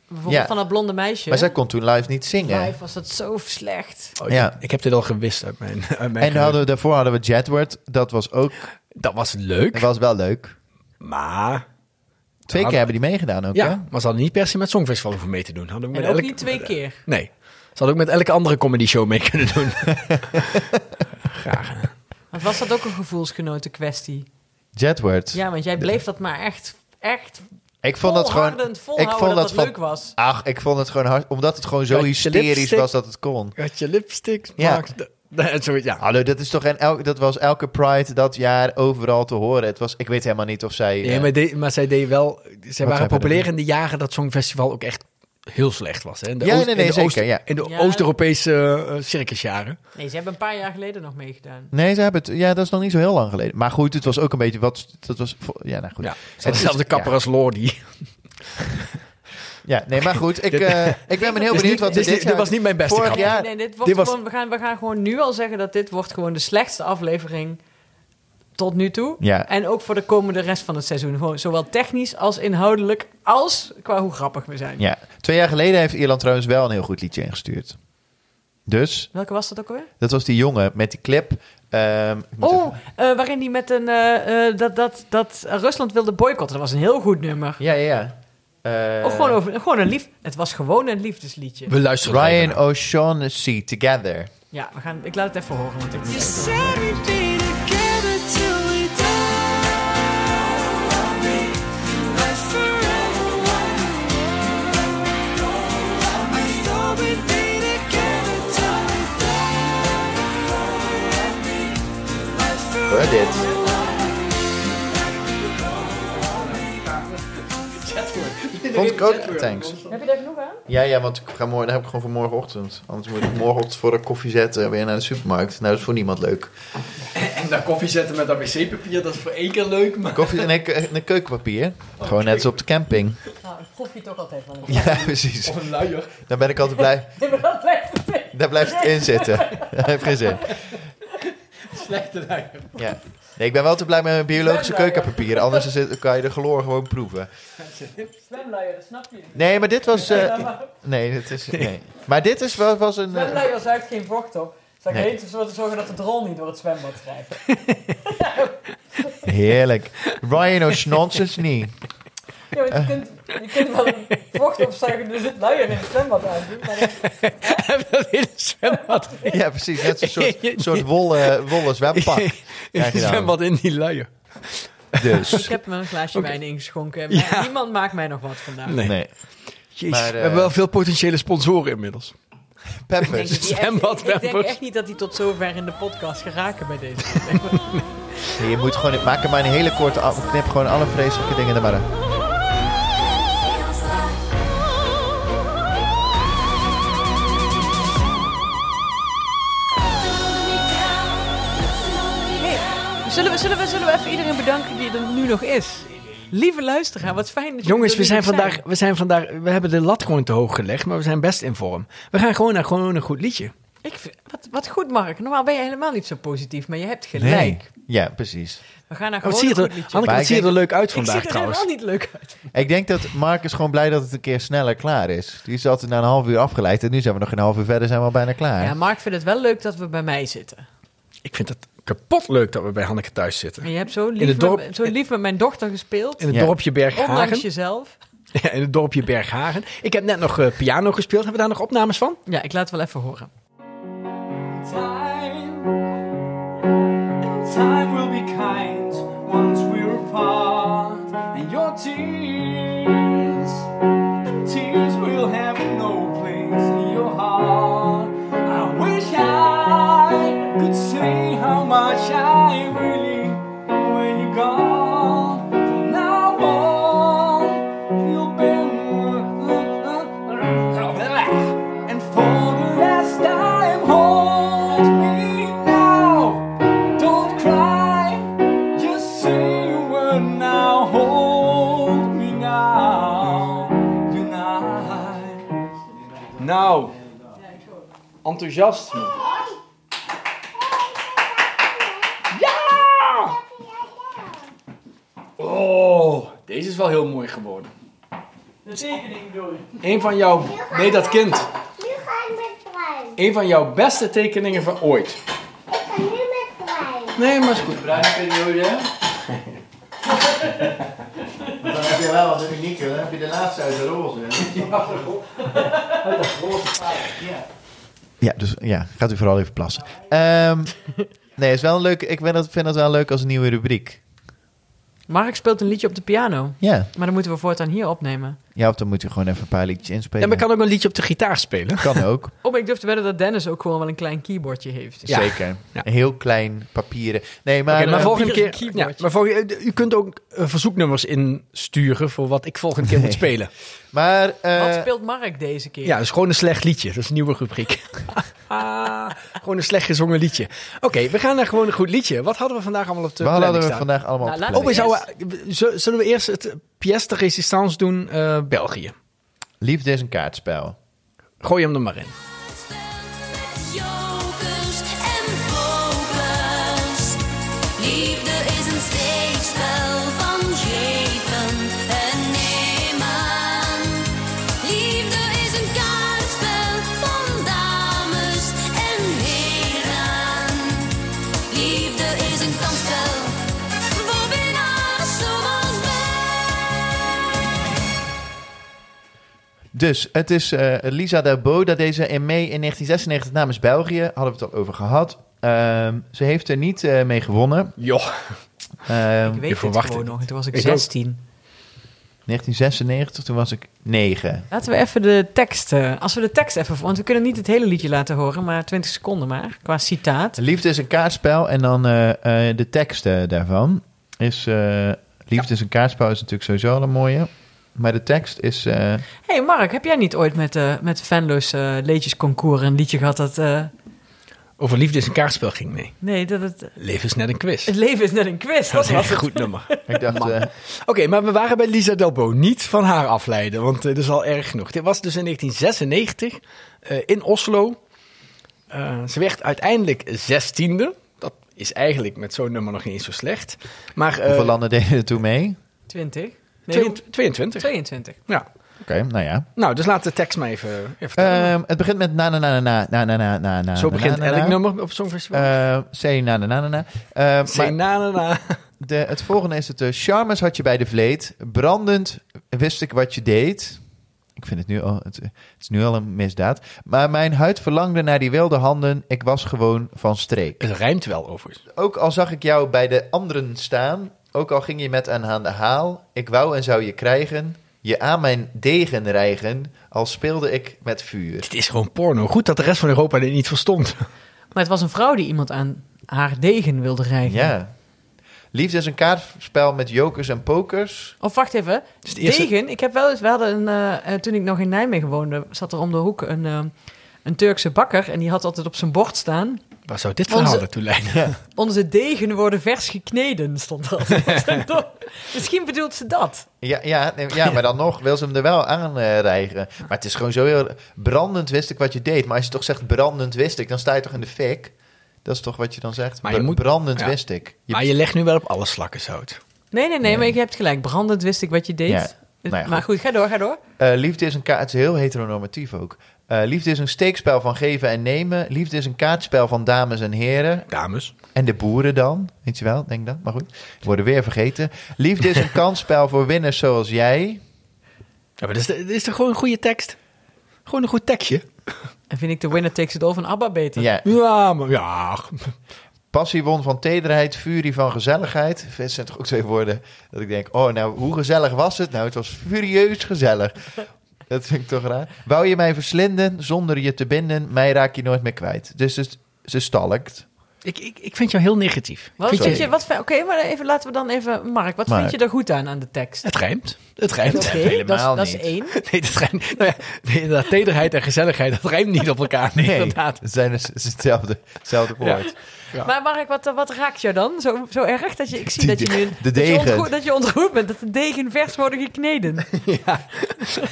Bijvoorbeeld Ja. van dat blonde meisje. Maar zij kon toen live niet zingen. Live was dat zo slecht. Oh, Ja. Ik heb dit al gewist uit mijn, uit mijn En geheugen. dan hadden we, daarvoor hadden we Jedward. Dat was ook Dat was leuk, dat was wel leuk. maar... Twee keer hebben die meegedaan ook, hè? Ja, maar ze hadden niet per se met Songfestival hoeven mee te doen. Hadden ook En met ook elk- niet twee keer. Nee. Ze hadden ook met elke andere comedy show mee kunnen doen. Graag. Want was dat ook een gevoelsgenoten kwestie? Jedward. Ja, want jij bleef dat maar echt, echt Ik vond dat gewoon... volhardend ik volhouden vond dat dat dat van- leuk was. Ach, ik vond het gewoon hard... Omdat het gewoon zo Kijk, je hysterisch lipstick. was dat het kon. Had je lipsticks? Ja. Ja. Zo, ja. Hallo, dat, is toch en elk, dat was elke Pride dat jaar overal te horen. Het was, ik weet helemaal niet of zij... Nee, eh, maar, de- maar zij deed wel... Ze zij waren populair bedoelen. in de jaren dat Songfestival ook echt heel slecht was. Hè? In de Ja, Oost- nee, nee, in de zeker, Oost- ja. In de Ja. Oost-Europese eh, circusjaren. Nee, ze hebben een paar jaar geleden nog meegedaan. Nee, ze hebben het... Ja, dat is nog niet zo heel lang geleden. Maar goed, het was ook een beetje... Wat, dat was... vo- Ja, nou goed. Ja. is- Hetzelfde kapper als Lordi. Dus Ja, nee, maar goed. (laughs) Ik, eh, ik ben heel Dit is benieuwd niet- wat dit is we dit niet- jaar- dit was niet mijn beste Vorig grap. jaar- nee, dit wordt dit was- gewoon, we, gaan, we gaan gewoon nu al zeggen dat dit wordt gewoon de slechtste aflevering tot nu toe. Ja. En ook voor de komende rest van het seizoen. Gewoon zowel technisch als inhoudelijk, als qua hoe grappig we zijn. Ja, twee jaar geleden heeft Ierland trouwens wel een heel goed liedje ingestuurd. Dus, Welke was dat ook alweer? dat was die jongen met die clip. ehm, ik moet Oh, even- eh, waarin die met een... eh, eh, dat, dat, dat Rusland wilde boycotten. Dat was een heel goed nummer. Ja, ja, ja. Eh, Of gewoon, over, gewoon een lief... Het was gewoon een liefdesliedje. We luisteren er even Ryan naar. O'Shaughnessy, Together. Ja, we gaan, ik laat het even horen. Want ik, You said we'd be together till we die. Like forever. I thought we'd be together till we die. Like forever. Hoor dit. Vond ik ook... Thanks. heb je daar genoeg aan? Ja, ja, want ik ga morgen, dat heb ik gewoon voor morgenochtend. Anders moet ik morgenochtend voor de koffie zetten weer naar de supermarkt. Nou, dat is voor niemand leuk. En daar koffie zetten met dat wc-papier, dat is voor één keer leuk. Maar... Koffie en een, een keukenpapier. Gewoon net als op de camping. (laughs) Nou, ik proef je toch altijd wel. (laughs) Ja, precies. Of een luier. Dan ben ik altijd blij. een- Daar blijft het in zitten. (laughs) Dat heeft geen zin. Slechte luier. Ja. Nee, ik ben wel te blij met mijn biologische keukenpapier. Anders is het- kan je de chloor gewoon proeven. Slemluier, dat snap je. Nee, maar dit was... eh, nee, dit is... Nee. Maar dit is, wel- was een... eh, Slemluier zuigt geen vocht op. Zou ik Nee. eens ervoor zorgen dat de drol niet door het zwembad drijft. heerlijk. Ryan O'Shaughnessy. Eh. Ja, want je, kunt, je kunt wel een vocht opzuigen, dus het luier in het zwembad aan. Maar dan- (laughs) dat hele zwembad. Ja, precies. Net zo'n soort, soort wollen, wollen (laughs) zwempak. Krijg je dan. zwembad in die luier. Ik Dus. heb me een glaasje wijn ingeschonken. Maar Ja. Niemand maakt mij nog wat vandaag. Nee. Nee. Jezus, Maar, eh, we hebben wel veel potentiële sponsoren inmiddels. Ik denk, Pampers. dat die Zwembad echt, ik denk Pampers. echt niet dat die tot zover in de podcast geraken bij deze. Je moet gewoon, maak er maar een hele korte af. Knip gewoon alle vreselijke dingen er maar uit. Zullen we, zullen, we, zullen we even iedereen bedanken die er nu nog is? Lieve luisteraar, wat fijn dat je Jongens, er we nu zijn, nog vandaag, we zijn vandaag. We hebben de lat gewoon te hoog gelegd, maar we zijn best in vorm. We gaan gewoon naar gewoon een goed liedje. Ik vind- wat, wat goed, Mark. Normaal ben je helemaal niet zo positief, maar je hebt gelijk. Ja, precies. We gaan naar Wat Oh, zie gewoon een je er, goed Hanneke, liedje. Maar wat ik zie je er denk- leuk uit ik vandaag zie er helemaal trouwens? niet leuk uit. Ik denk dat Mark is gewoon blij dat het een keer sneller klaar is. Die is altijd na een half uur afgeleid. En nu zijn we nog een half uur verder, zijn we al bijna klaar. Ja, Mark vindt het wel leuk dat we bij mij zitten. Ik vind het kapot leuk dat we bij Hanneke thuis zitten. Maar je hebt zo lief, In het dorp- met, zo lief met mijn dochter gespeeld. In het Ja. dorpje Ondanks Berghagen. jezelf. (laughs) Ja, in het dorpje Berghagen. Ik heb net nog eh, piano gespeeld. Hebben we daar nog opnames van? Ja, ik laat het wel even horen. time, and time will be kind once we're apart. And your tears, and tears will have no place in your heart. I wish I could say how much I really when you're gone. From now on, you'll be. And for the last time, hold me now. Don't cry, just say a word now. Hold me now, unite. Nou, enthousiasme. Ja! Oh, deze is wel heel mooi geworden. De tekening door. Een van jouw. Nee, dat kind. Nu ga ik met trein. Een van jouw beste tekeningen van ooit. Ik ga nu met trein. Nee, maar is goed. Dan heb je wel wat unieke. Dan heb je de laatste uit de roze. Ja, dus ja, gaat u vooral even plassen. Ehm, nee, is wel een leuke, ik vind dat, vind dat wel leuk als een nieuwe rubriek. Mark speelt een liedje op de piano. Ja, Maar dan moeten we voortaan hier opnemen. ja of dan moet je gewoon even een paar liedjes inspelen. Ja, maar ik kan ook een liedje op de gitaar spelen. Kan ook, Oh, maar ik durf te wedden dat Dennis ook gewoon wel een klein keyboardje (laughs) heeft. Dus Ja. zeker. Ja. Een heel klein papieren. Nee, maar, Oké, maar eh, volgende hier is een keer. Ja, keyboard. maar volgende, u kunt ook eh, verzoeknummers insturen voor wat ik volgende keer moet spelen. maar eh, Wat speelt Mark deze keer? Ja, dat is gewoon een slecht liedje. Dat is een nieuwe rubriek. (laughs) Ah, gewoon een slecht gezongen liedje. Oké, we gaan naar gewoon een goed liedje. Wat hadden we vandaag allemaal op de wat planning hadden we staan? vandaag allemaal Nou, op de laten Oh, we planning? Eerst- zouden, z- zullen we eerst het pièce de résistance doen, eh, België? Liefde is een kaartspel. Gooi hem er maar in. Jokers en focus. Liefde is een steekspel van geven en nemen. Liefde is een kaartspel van dames en heren. Liefde is een kansspel voor winnaars zoals wij. Dus het is eh, Lisa Darboda, deze in mei in 1996 namens België. Hadden we het al over gehad. Ehm, ze heeft er niet eh, mee gewonnen. Joh. Ehm, Ik weet Je het verwacht gewoon het. nog. En toen was ik, Ik 16. 1996, toen was ik 9. Laten we even de tekst... eh, als we de tekst even... Want we kunnen niet het hele liedje laten horen, maar 20 seconden maar. Qua citaat. Liefde is een kaartspel en dan eh, eh, de tekst eh, daarvan is... eh, Liefde is een kaartspel is natuurlijk sowieso al een mooie. Maar de tekst is... eh, Hé hey Mark, heb jij niet ooit met, eh met Venlo's eh, Leedjesconcours een liedje gehad dat... eh, Over liefde is een kaartspel ging mee. nee, dat het... Leven is net een quiz. (laughs) Het leven is net een quiz. Dat Dat is echt was een het. goed nummer. ik dacht, eh, Oké, (laughs) maar we waren bij Lisa Delbo. Niet van haar afleiden, want het is al erg genoeg. Dit was dus in 1996 eh, in Oslo. Eh, ze werd uiteindelijk zestiende. Dat is eigenlijk met zo'n nummer nog niet eens zo slecht. Maar eh, hoeveel landen deden er toen mee? 20? Nee, twee- 22. 22. Ja. Oké, nou ja. Nou, dus laat de tekst maar even, even vertellen. Ehm, het begint met na na na na na na na na na Zo na, begint na, na, elk na. nummer op zo'n festival. Eh, Say na na na na na. Eh, Say maar- na, na, (laughs) na. De, het volgende is het. eh, Charmes had je bij de vleet. Brandend wist ik wat je deed. Ik Ik vind het nu al, het, het is nu al een misdaad. Maar mijn huid verlangde naar die wilde handen. Ik was gewoon van streek. Het rijmt wel overigens. Ook al zag ik jou bij de anderen staan. Ook al ging je met hen aan de haal. Ik wou en zou je krijgen. Je aan mijn degen rijgen. Al speelde ik met vuur. Het is gewoon porno. Goed dat de rest van Europa dit niet verstond. Maar het was een vrouw die iemand aan haar degen wilde rijden. Ja. Liefde is een kaartspel met jokers en pokers. Of Oh, wacht even. het eerste- Degen. Ik heb wel eens. We hadden een, eh, eh, toen ik nog in Nijmegen woonde, zat er om de hoek een, eh, een Turkse bakker. En die had altijd op zijn bord staan. Waar zou dit Onze- verhaal naartoe leiden? Onze degen worden vers gekneden, stond dat. Misschien bedoelt ze dat. Ja, ja, (laughs) nee, ja, maar dan nog wil ze hem er wel aan eh, rijgen. Maar het is gewoon zo heel... Brandend wist ik wat je deed. Maar als je toch zegt brandend wist ik, dan sta je toch in de fik? Dat is toch wat je dan zegt? Maar je Br- moet- brandend ja. wist ik. Je- Maar je legt nu wel op alle slakken zout. Nee, nee, nee, maar je hebt gelijk. Brandend wist ik wat je deed. Ja. Nou ja, maar goed. goed, ga door, ga door. Eh, liefde is een kaart... Het is heel heteronormatief ook. Eh, liefde is een steekspel van geven en nemen. Liefde is een kaartspel van dames en heren. Dames. En de boeren dan, weet je wel, denk dan. Maar goed, worden weer vergeten. Liefde is (laughs) een kansspel voor winners zoals jij. Ja, maar dit is, dit is toch gewoon een goede tekst? Gewoon een goed tekstje? En vind ik de winner takes it all van ABBA beter. Ja, Ja, maar ja. Passie won van tederheid, furie van gezelligheid. Het zijn toch ook twee woorden dat ik denk... oh, nou, hoe gezellig was het? Nou, het was furieus gezellig. Dat vind ik toch raar. Wou je mij verslinden zonder je te binden... mij raak je nooit meer kwijt. Dus ze, ze stalkt. Ik, ik, ik vind jou heel negatief. Wat Vind vind je- je, wat, vind- oké, maar even, laten we dan even, Mark, wat Mark. vind je er goed aan, aan de (laughs) tekst? Het rijmt. Het rijmt. Oké, (laughs) helemaal dat, is- dat is niet. één. Nee, dat rijmt. Nou ja, nee, inderdaad, tederheid en gezelligheid, dat rijmt niet op elkaar. Nee, (laughs) inderdaad. het zijn dus hetzelfde, hetzelfde Ja. woord. Ja. Maar Mark, wat, eh, wat raakt jou dan? Zo, zo erg dat je, ik zie Die- dat je nu, de dat je, degen. ontroerd, dat je ontroerd bent, dat de degen vers worden (laughs) gekneden. Ja.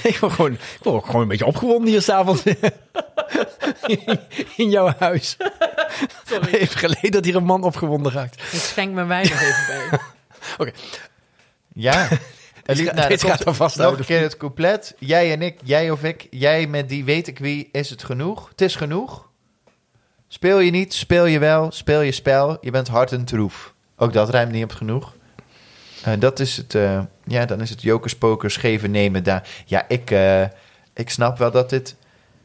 Ik word gewoon, ik word ook gewoon een beetje opgewonden hier s'avonds. (laughs) In jouw huis. Sorry. Heeft geleden dat hier een man opgewonden raakt. Ik schenk mijn wijn nog even bij. (laughs) (laughs) Ja. En lief- gaat- nou, dit dan gaat komt er vast Nog uit. een keer het couplet. Jij en ik, jij of ik, jij met die weet ik wie, is het genoeg? Het is genoeg. Speel je niet, speel je wel, speel je spel. Je bent hard en troef. Ook dat rijmt niet op genoeg. En dat is het, eh, ja, dan is het jokers, pokers, geven, nemen daar. Ja, ik, eh, ik snap wel dat dit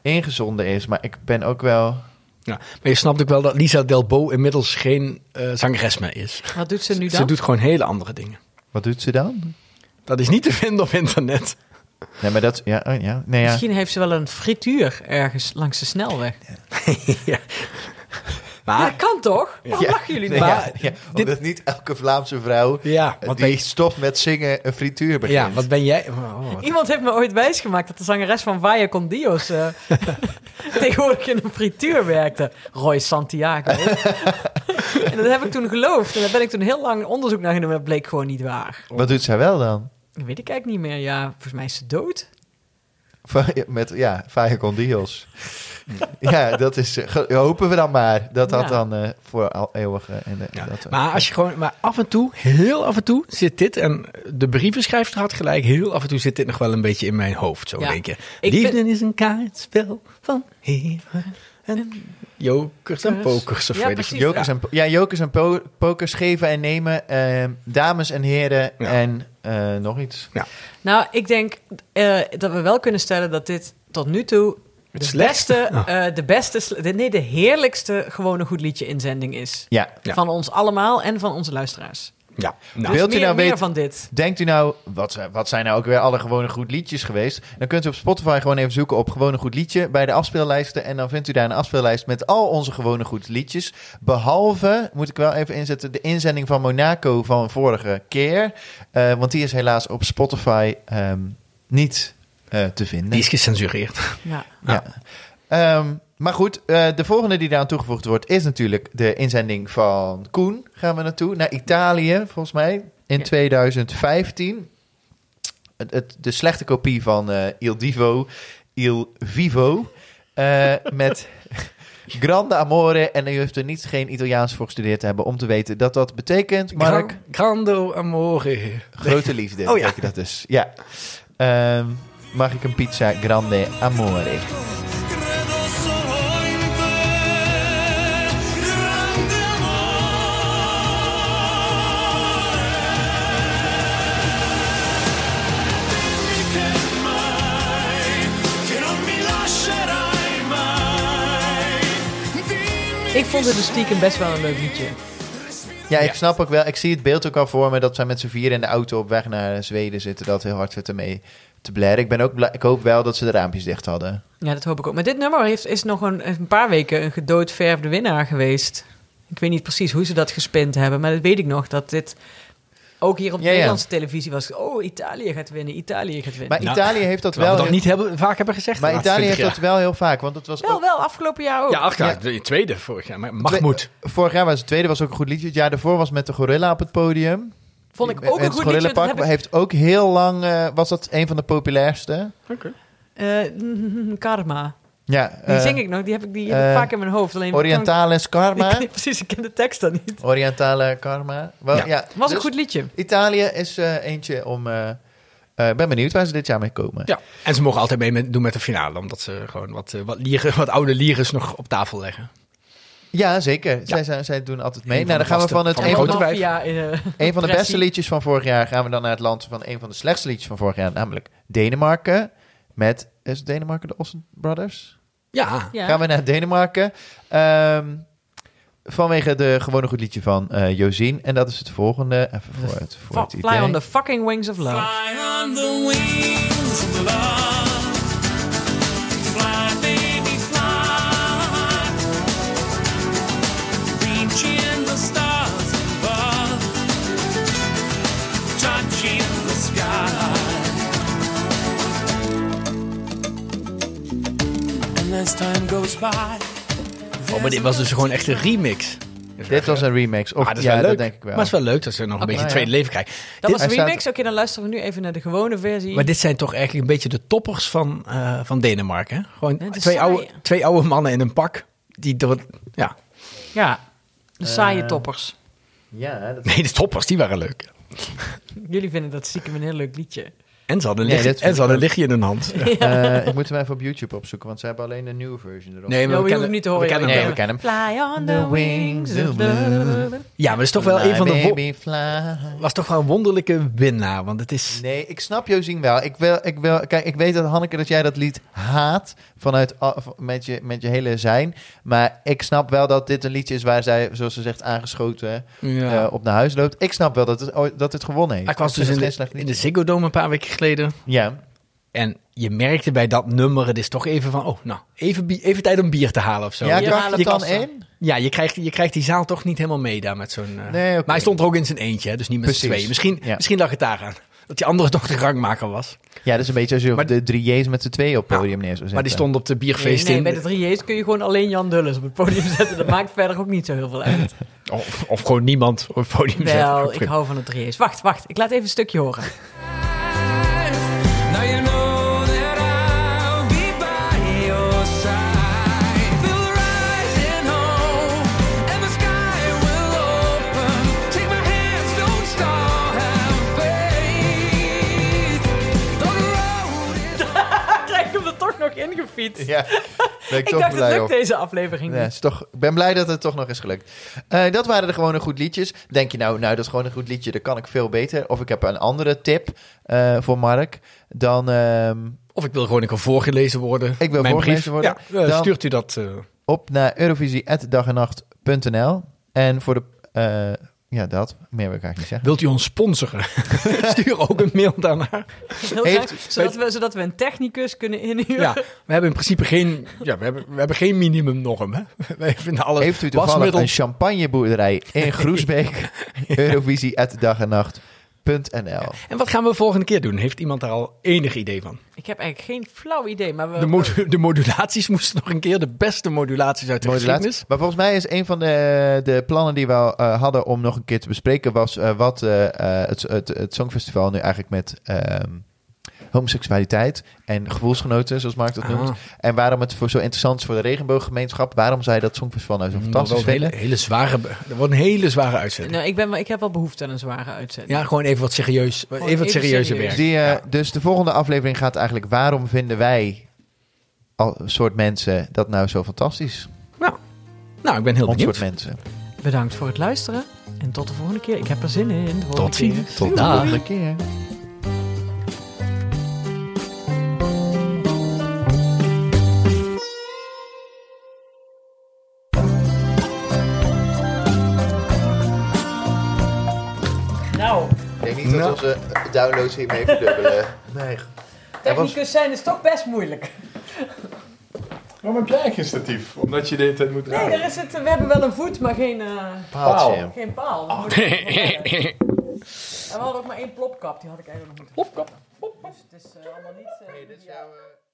ingezonden is, maar ik ben ook wel... Ja, maar je snapt ook wel dat Lisa Delbo inmiddels geen eh, zangeres meer is. (laughs) Wat doet ze nu dan? Ze doet gewoon hele andere dingen. Wat doet ze dan? Dat is niet te vinden op internet. Nee, maar dat... Ja, oh, ja. Nee, ja. Misschien heeft ze wel een frituur ergens langs de snelweg. ja. Ja, Maar, dat kan toch? Waarom Ja. lachen jullie Nee, nou? ja, ja, omdat niet elke Vlaamse vrouw ja, want die ben- stopt met zingen een frituur begint. ja, wat ben jij? oh, wat- (laughs) Iemand heeft me ooit wijsgemaakt dat de zangeres van Vaya con (laughs) Dios eh, tegenwoordig in een frituur werkte. (laughs) Roy Santiago. en dat heb ik toen geloofd. En daar ben ik toen heel lang onderzoek naar gedaan, maar dat bleek gewoon niet waar. Wat doet zij wel dan? Dat weet ik eigenlijk niet meer. Ja, volgens mij is ze dood. Va- Met, ja, Vaya (laughs) con Dios. ja, dat is... eh, ge- Hopen we dan maar dat dat Ja. dan eh, voor al eeuwig... eh, en, eh, Ja, dat, maar als je gewoon, maar af en toe, heel af en toe zit dit, en de brievenschrijver had gelijk, heel af en toe zit dit nog wel een beetje in mijn hoofd, zo Ja. denk je. Ik Liefde vind- is een kaartspel van heren en jokers en Kers. pokers, of Ja, weet ik precies. jokers, Ja. En, po- ja, jokers en po- pokers geven en nemen. eh, dames en heren Ja. en eh, nog iets. Nou, ik denk eh, dat we wel kunnen stellen dat dit tot nu toe de slechtste? beste, Ah. eh, de beste, sle- de- nee, de heerlijkste gewone goed liedje inzending is. Ja. Ja. Van ons allemaal en van onze luisteraars. Ja, nou, Dus Wilt u meer, nou meer weten- van dit? Denkt u nou, wat, wat zijn nou ook weer alle gewone goed liedjes geweest? Dan kunt u op Spotify gewoon even zoeken op gewone goed liedje bij de afspeellijsten. En dan vindt u daar een afspeellijst met al onze gewone goed liedjes. Behalve, moet ik wel even inzetten, de inzending van Monaco van vorige keer. Eh, want die is helaas op Spotify ehm, niet eh, te vinden. die is gecensureerd. Ja. Ja. Ehm, maar goed, eh, de volgende die daaraan toegevoegd wordt is natuurlijk de inzending van Koen. Gaan we naartoe, naar Italië volgens mij, in Ja. 2015. Het, het- de slechte kopie van eh, Il Divo, Il Vivo, eh, met (laughs) Grande Amore. En u hoeft er niet geen Italiaans voor gestudeerd te hebben om te weten dat dat betekent. Gran- Mark, Grando amore. grote liefde. Oh ja. betekent dat dus. Ja. Ehm, mag ik een pizza Grande Amore? Credo solo in te, grande amore. Mica mai vond het dus stiekem best wel een leuk liedje. Ja, ik snap ook wel. Ik zie het beeld ook al voor me dat zij met z'n vier in de auto op weg naar Zweden zitten. Dat heel hard zitten mee te blaren. Ik, ben ook blij- ik hoop wel dat ze de raampjes dicht hadden. Ja, dat hoop ik ook. Maar dit nummer heeft, is nog een, een paar weken een gedoodverfde winnaar geweest. Ik weet niet precies hoe ze dat gespind hebben, maar dat weet ik nog. Dat dit ook hier op de Ja, ja. Nederlandse televisie was. Oh, Italië gaat winnen, Italië gaat winnen. Maar Nou, Italië heeft dat Terwijl wel. we dat heel- niet hebben, vaak hebben gezegd. de maar laatste Italië heeft 20 dat wel heel vaak. Want dat was wel, ook- wel, afgelopen jaar ook. jaar. Ja, ach ja, de tweede vorig jaar. Maar Mahmoud. Oh. Twee- vorig jaar was het tweede, was ook een goed liedje. Het jaar daarvoor was met de gorilla op het podium. Vond ik ook een het goed liedje. dat Gorillapark heb ik- heeft ook heel lang, eh, was dat een van de populairste. eh, (laughs) karma. Ja, Die eh, zing ik nog, die heb ik, die heb ik eh, vaak in mijn hoofd. Alleen Orientales (laughs) ik kan- Karma. ik- precies, ik ken de tekst dan niet. Orientale Karma. Wel, Ja. ja. was een dus goed liedje. Italië is eh, eentje om... eh, eh, Ik ben benieuwd waar ze dit jaar mee komen. Ja. En ze mogen altijd mee met- doen met de finale, omdat ze gewoon wat, eh, wat, lieren, (laughs) wat oude lieren nog op tafel leggen. Ja, zeker. Zij, zijn, zij doen altijd mee. Een Nou, van dan gaan we de van het vaste- een, van van de de, grote vijf. Mafia, (laughs) eh, een van de beste pressie. liedjes van vorig jaar... gaan we dan naar het land van een van de slechtste liedjes van vorig jaar. Namelijk Denemarken. Met, is Denemarken de Olsen Brothers? Ja. (laughs) Ja. Gaan we naar Denemarken. Ehm, vanwege de gewone goed liedje van eh Josien. En dat is het volgende. Even voor het, voor Fa- het Fly on idee. the fucking wings of love. Fly on the wings of love. Fly, baby, fly. Reaching the stars above. Touching the sky. And as time goes by. Oh, maar dit was dus gewoon echt een remix. Dit was een remix. Of, Ah, dat is ja, wel leuk. dat denk ik wel. Maar het is wel leuk dat ze nog een beetje nou ja. tweede leven krijgen. Dat Dit- was de hij staat- remix. Oké, dan luisteren we nu even naar de gewone versie. maar dit zijn toch eigenlijk een beetje de toppers van, eh, van Denemarken. hè? Gewoon Het is twee saai. oude, twee oude mannen in een pak. Die door, ja. Ja, de saaie Eh, toppers. Ja, dat... Nee, de toppers, die waren leuk. Jullie vinden dat stiekem een heel leuk liedje. En ze hadden een Nee, lichtje- dit vind en ze hadden ik een lichtje in hun hand. (laughs) Ja. Eh, ik moet hem even op YouTube opzoeken. Want ze hebben alleen de nieuwe version erop. Nee, Ja, je hoeft niet te horen. We kennen ja, hem Nee, wel. we kennen hem. Fly on the The wings wings of of love. Ja, maar het is toch wel Fly, een van de... wo- baby, fly. was toch wel een wonderlijke winnaar. Want het is... Nee, ik snap Josien wel. Ik wil, ik wil, kijk, ik weet dat Hanneke dat jij dat lied haat vanuit al- v- met je, met je hele zijn. Maar ik snap wel dat dit een liedje is waar zij, zoals ze zegt, aangeschoten Ja. eh, op naar huis loopt. Ik snap wel dat het, ooit- dat het gewonnen heeft. ik was vind dus in het geen de, slecht in liedje. de Ziggo Dome een paar weken geleden. Ja. En je merkte bij dat nummer, het is toch even van... Oh, nou, even, bi- even tijd om bier te halen of zo. Ja, je, kan halen het dan tassen. één? ja, je, krijgt, je krijgt die zaal toch niet helemaal mee daar met zo'n... eh, Nee, oké. Maar hij stond er ook in zijn eentje, hè, dus niet met z'n Precies. tweeën. Misschien, Ja. misschien lag het daar aan. Dat die andere toch de gangmaker was. Ja, dat is een beetje als je Maar- de drie J's met z'n tweeën op het podium neer zou zetten. Maar die stond op de Nee, bierfeest nee, bij in. de 3J's kun je gewoon alleen Jan Dulles op het podium (laughs) zetten. Dat maakt verder ook niet zo heel veel uit. Of, of gewoon niemand op het podium zetten. Wel, ik hou van de 3J's. Wacht, wacht. Ik laat even een stukje (laughs) horen. Now you know that I'll be by your side. Feel the rising hope, and the sky will open. Take my hands, don't stop, have faith. Though the road is Krijg ik hem er toch nog ingefietst? Ja, (laughs) ben ik, ik toch dacht, het blij lukt om. deze aflevering Ja, niet. is toch, ik ben blij dat het toch nog is gelukt. Eh, dat waren de gewone goed liedjes. Denk je nou, nou, dat is gewoon een goed liedje, dat kan ik veel beter. Of ik heb een andere tip eh, voor Mark. Dan, ehm, Of ik wil gewoon een keer voorgelezen worden. wil Mijn voorgelezen brief. worden. Ja, eh, Dan- Stuurt u dat... eh, op naar eurovisie.dagenacht.nl. En voor de... eh, ja, dat. Meer wil ik eigenlijk niet zeggen. Wilt u ons (laughs) sponsoren? Stuur ook een mail daarna. Heel Heeft- graag, zodat, we, zodat we een technicus kunnen inhuren. Ja, we hebben in principe geen, ja, we hebben, we hebben geen minimumnorm. Hè? (laughs) Wij vinden alles Heeft u toevallig wasmiddel- een champagneboerderij in Groesbeek? Eurovisie.dagenacht.nl En wat gaan we volgende keer doen? Heeft iemand daar al enig idee van? Ik heb eigenlijk geen flauw idee, Eh, maar we... De, modu- de modulaties moesten nog een keer, de beste modulaties uit de Modulatie. geschiedenis. Maar volgens mij is een van de, de plannen die we al, eh, hadden om nog een keer te bespreken... was eh, wat eh, eh, het, het, het Songfestival nu eigenlijk met ehm, homoseksualiteit en gevoelsgenoten, zoals Mark dat Ah. noemt... en waarom het voor zo interessant is voor de regenbooggemeenschap... waarom zij dat Songfestival Mm, nou zo fantastisch Wel een vinden. hele, hele zware, be- er wordt een hele zware uitzending. nou, ik, ben, wel- ik heb wel behoefte aan een zware uitzending. Ja, gewoon even wat serieus, even wat even serieuzer serieus. werk. Die, eh, Dus de volgende aflevering gaat eigenlijk... waarom vinden wij als soort mensen dat nou zo fantastisch? Nou, ik ben heel Ons soort benieuwd. mensen. Bedankt voor het luisteren. En tot de volgende keer. Ik heb er zin in. De volgende Tot ziens. keer. Tot de Dag. volgende keer. Nou, Ik denk niet dat onze downloads hiermee verdubbelen. Nee. Hij was- technicus zijn is toch best moeilijk. Waarom heb jij geen statief? Omdat je de hele tijd moet Nee, draaien. daar is het, we hebben wel een voet, maar geen, eh, Paaltje. paal. geen paal. Oh. We moeten- (laughs) En we hadden ook maar één plopkap, die had ik eigenlijk nog moeten Plopkap? Dus het is eh, allemaal niet... eh, ideaal.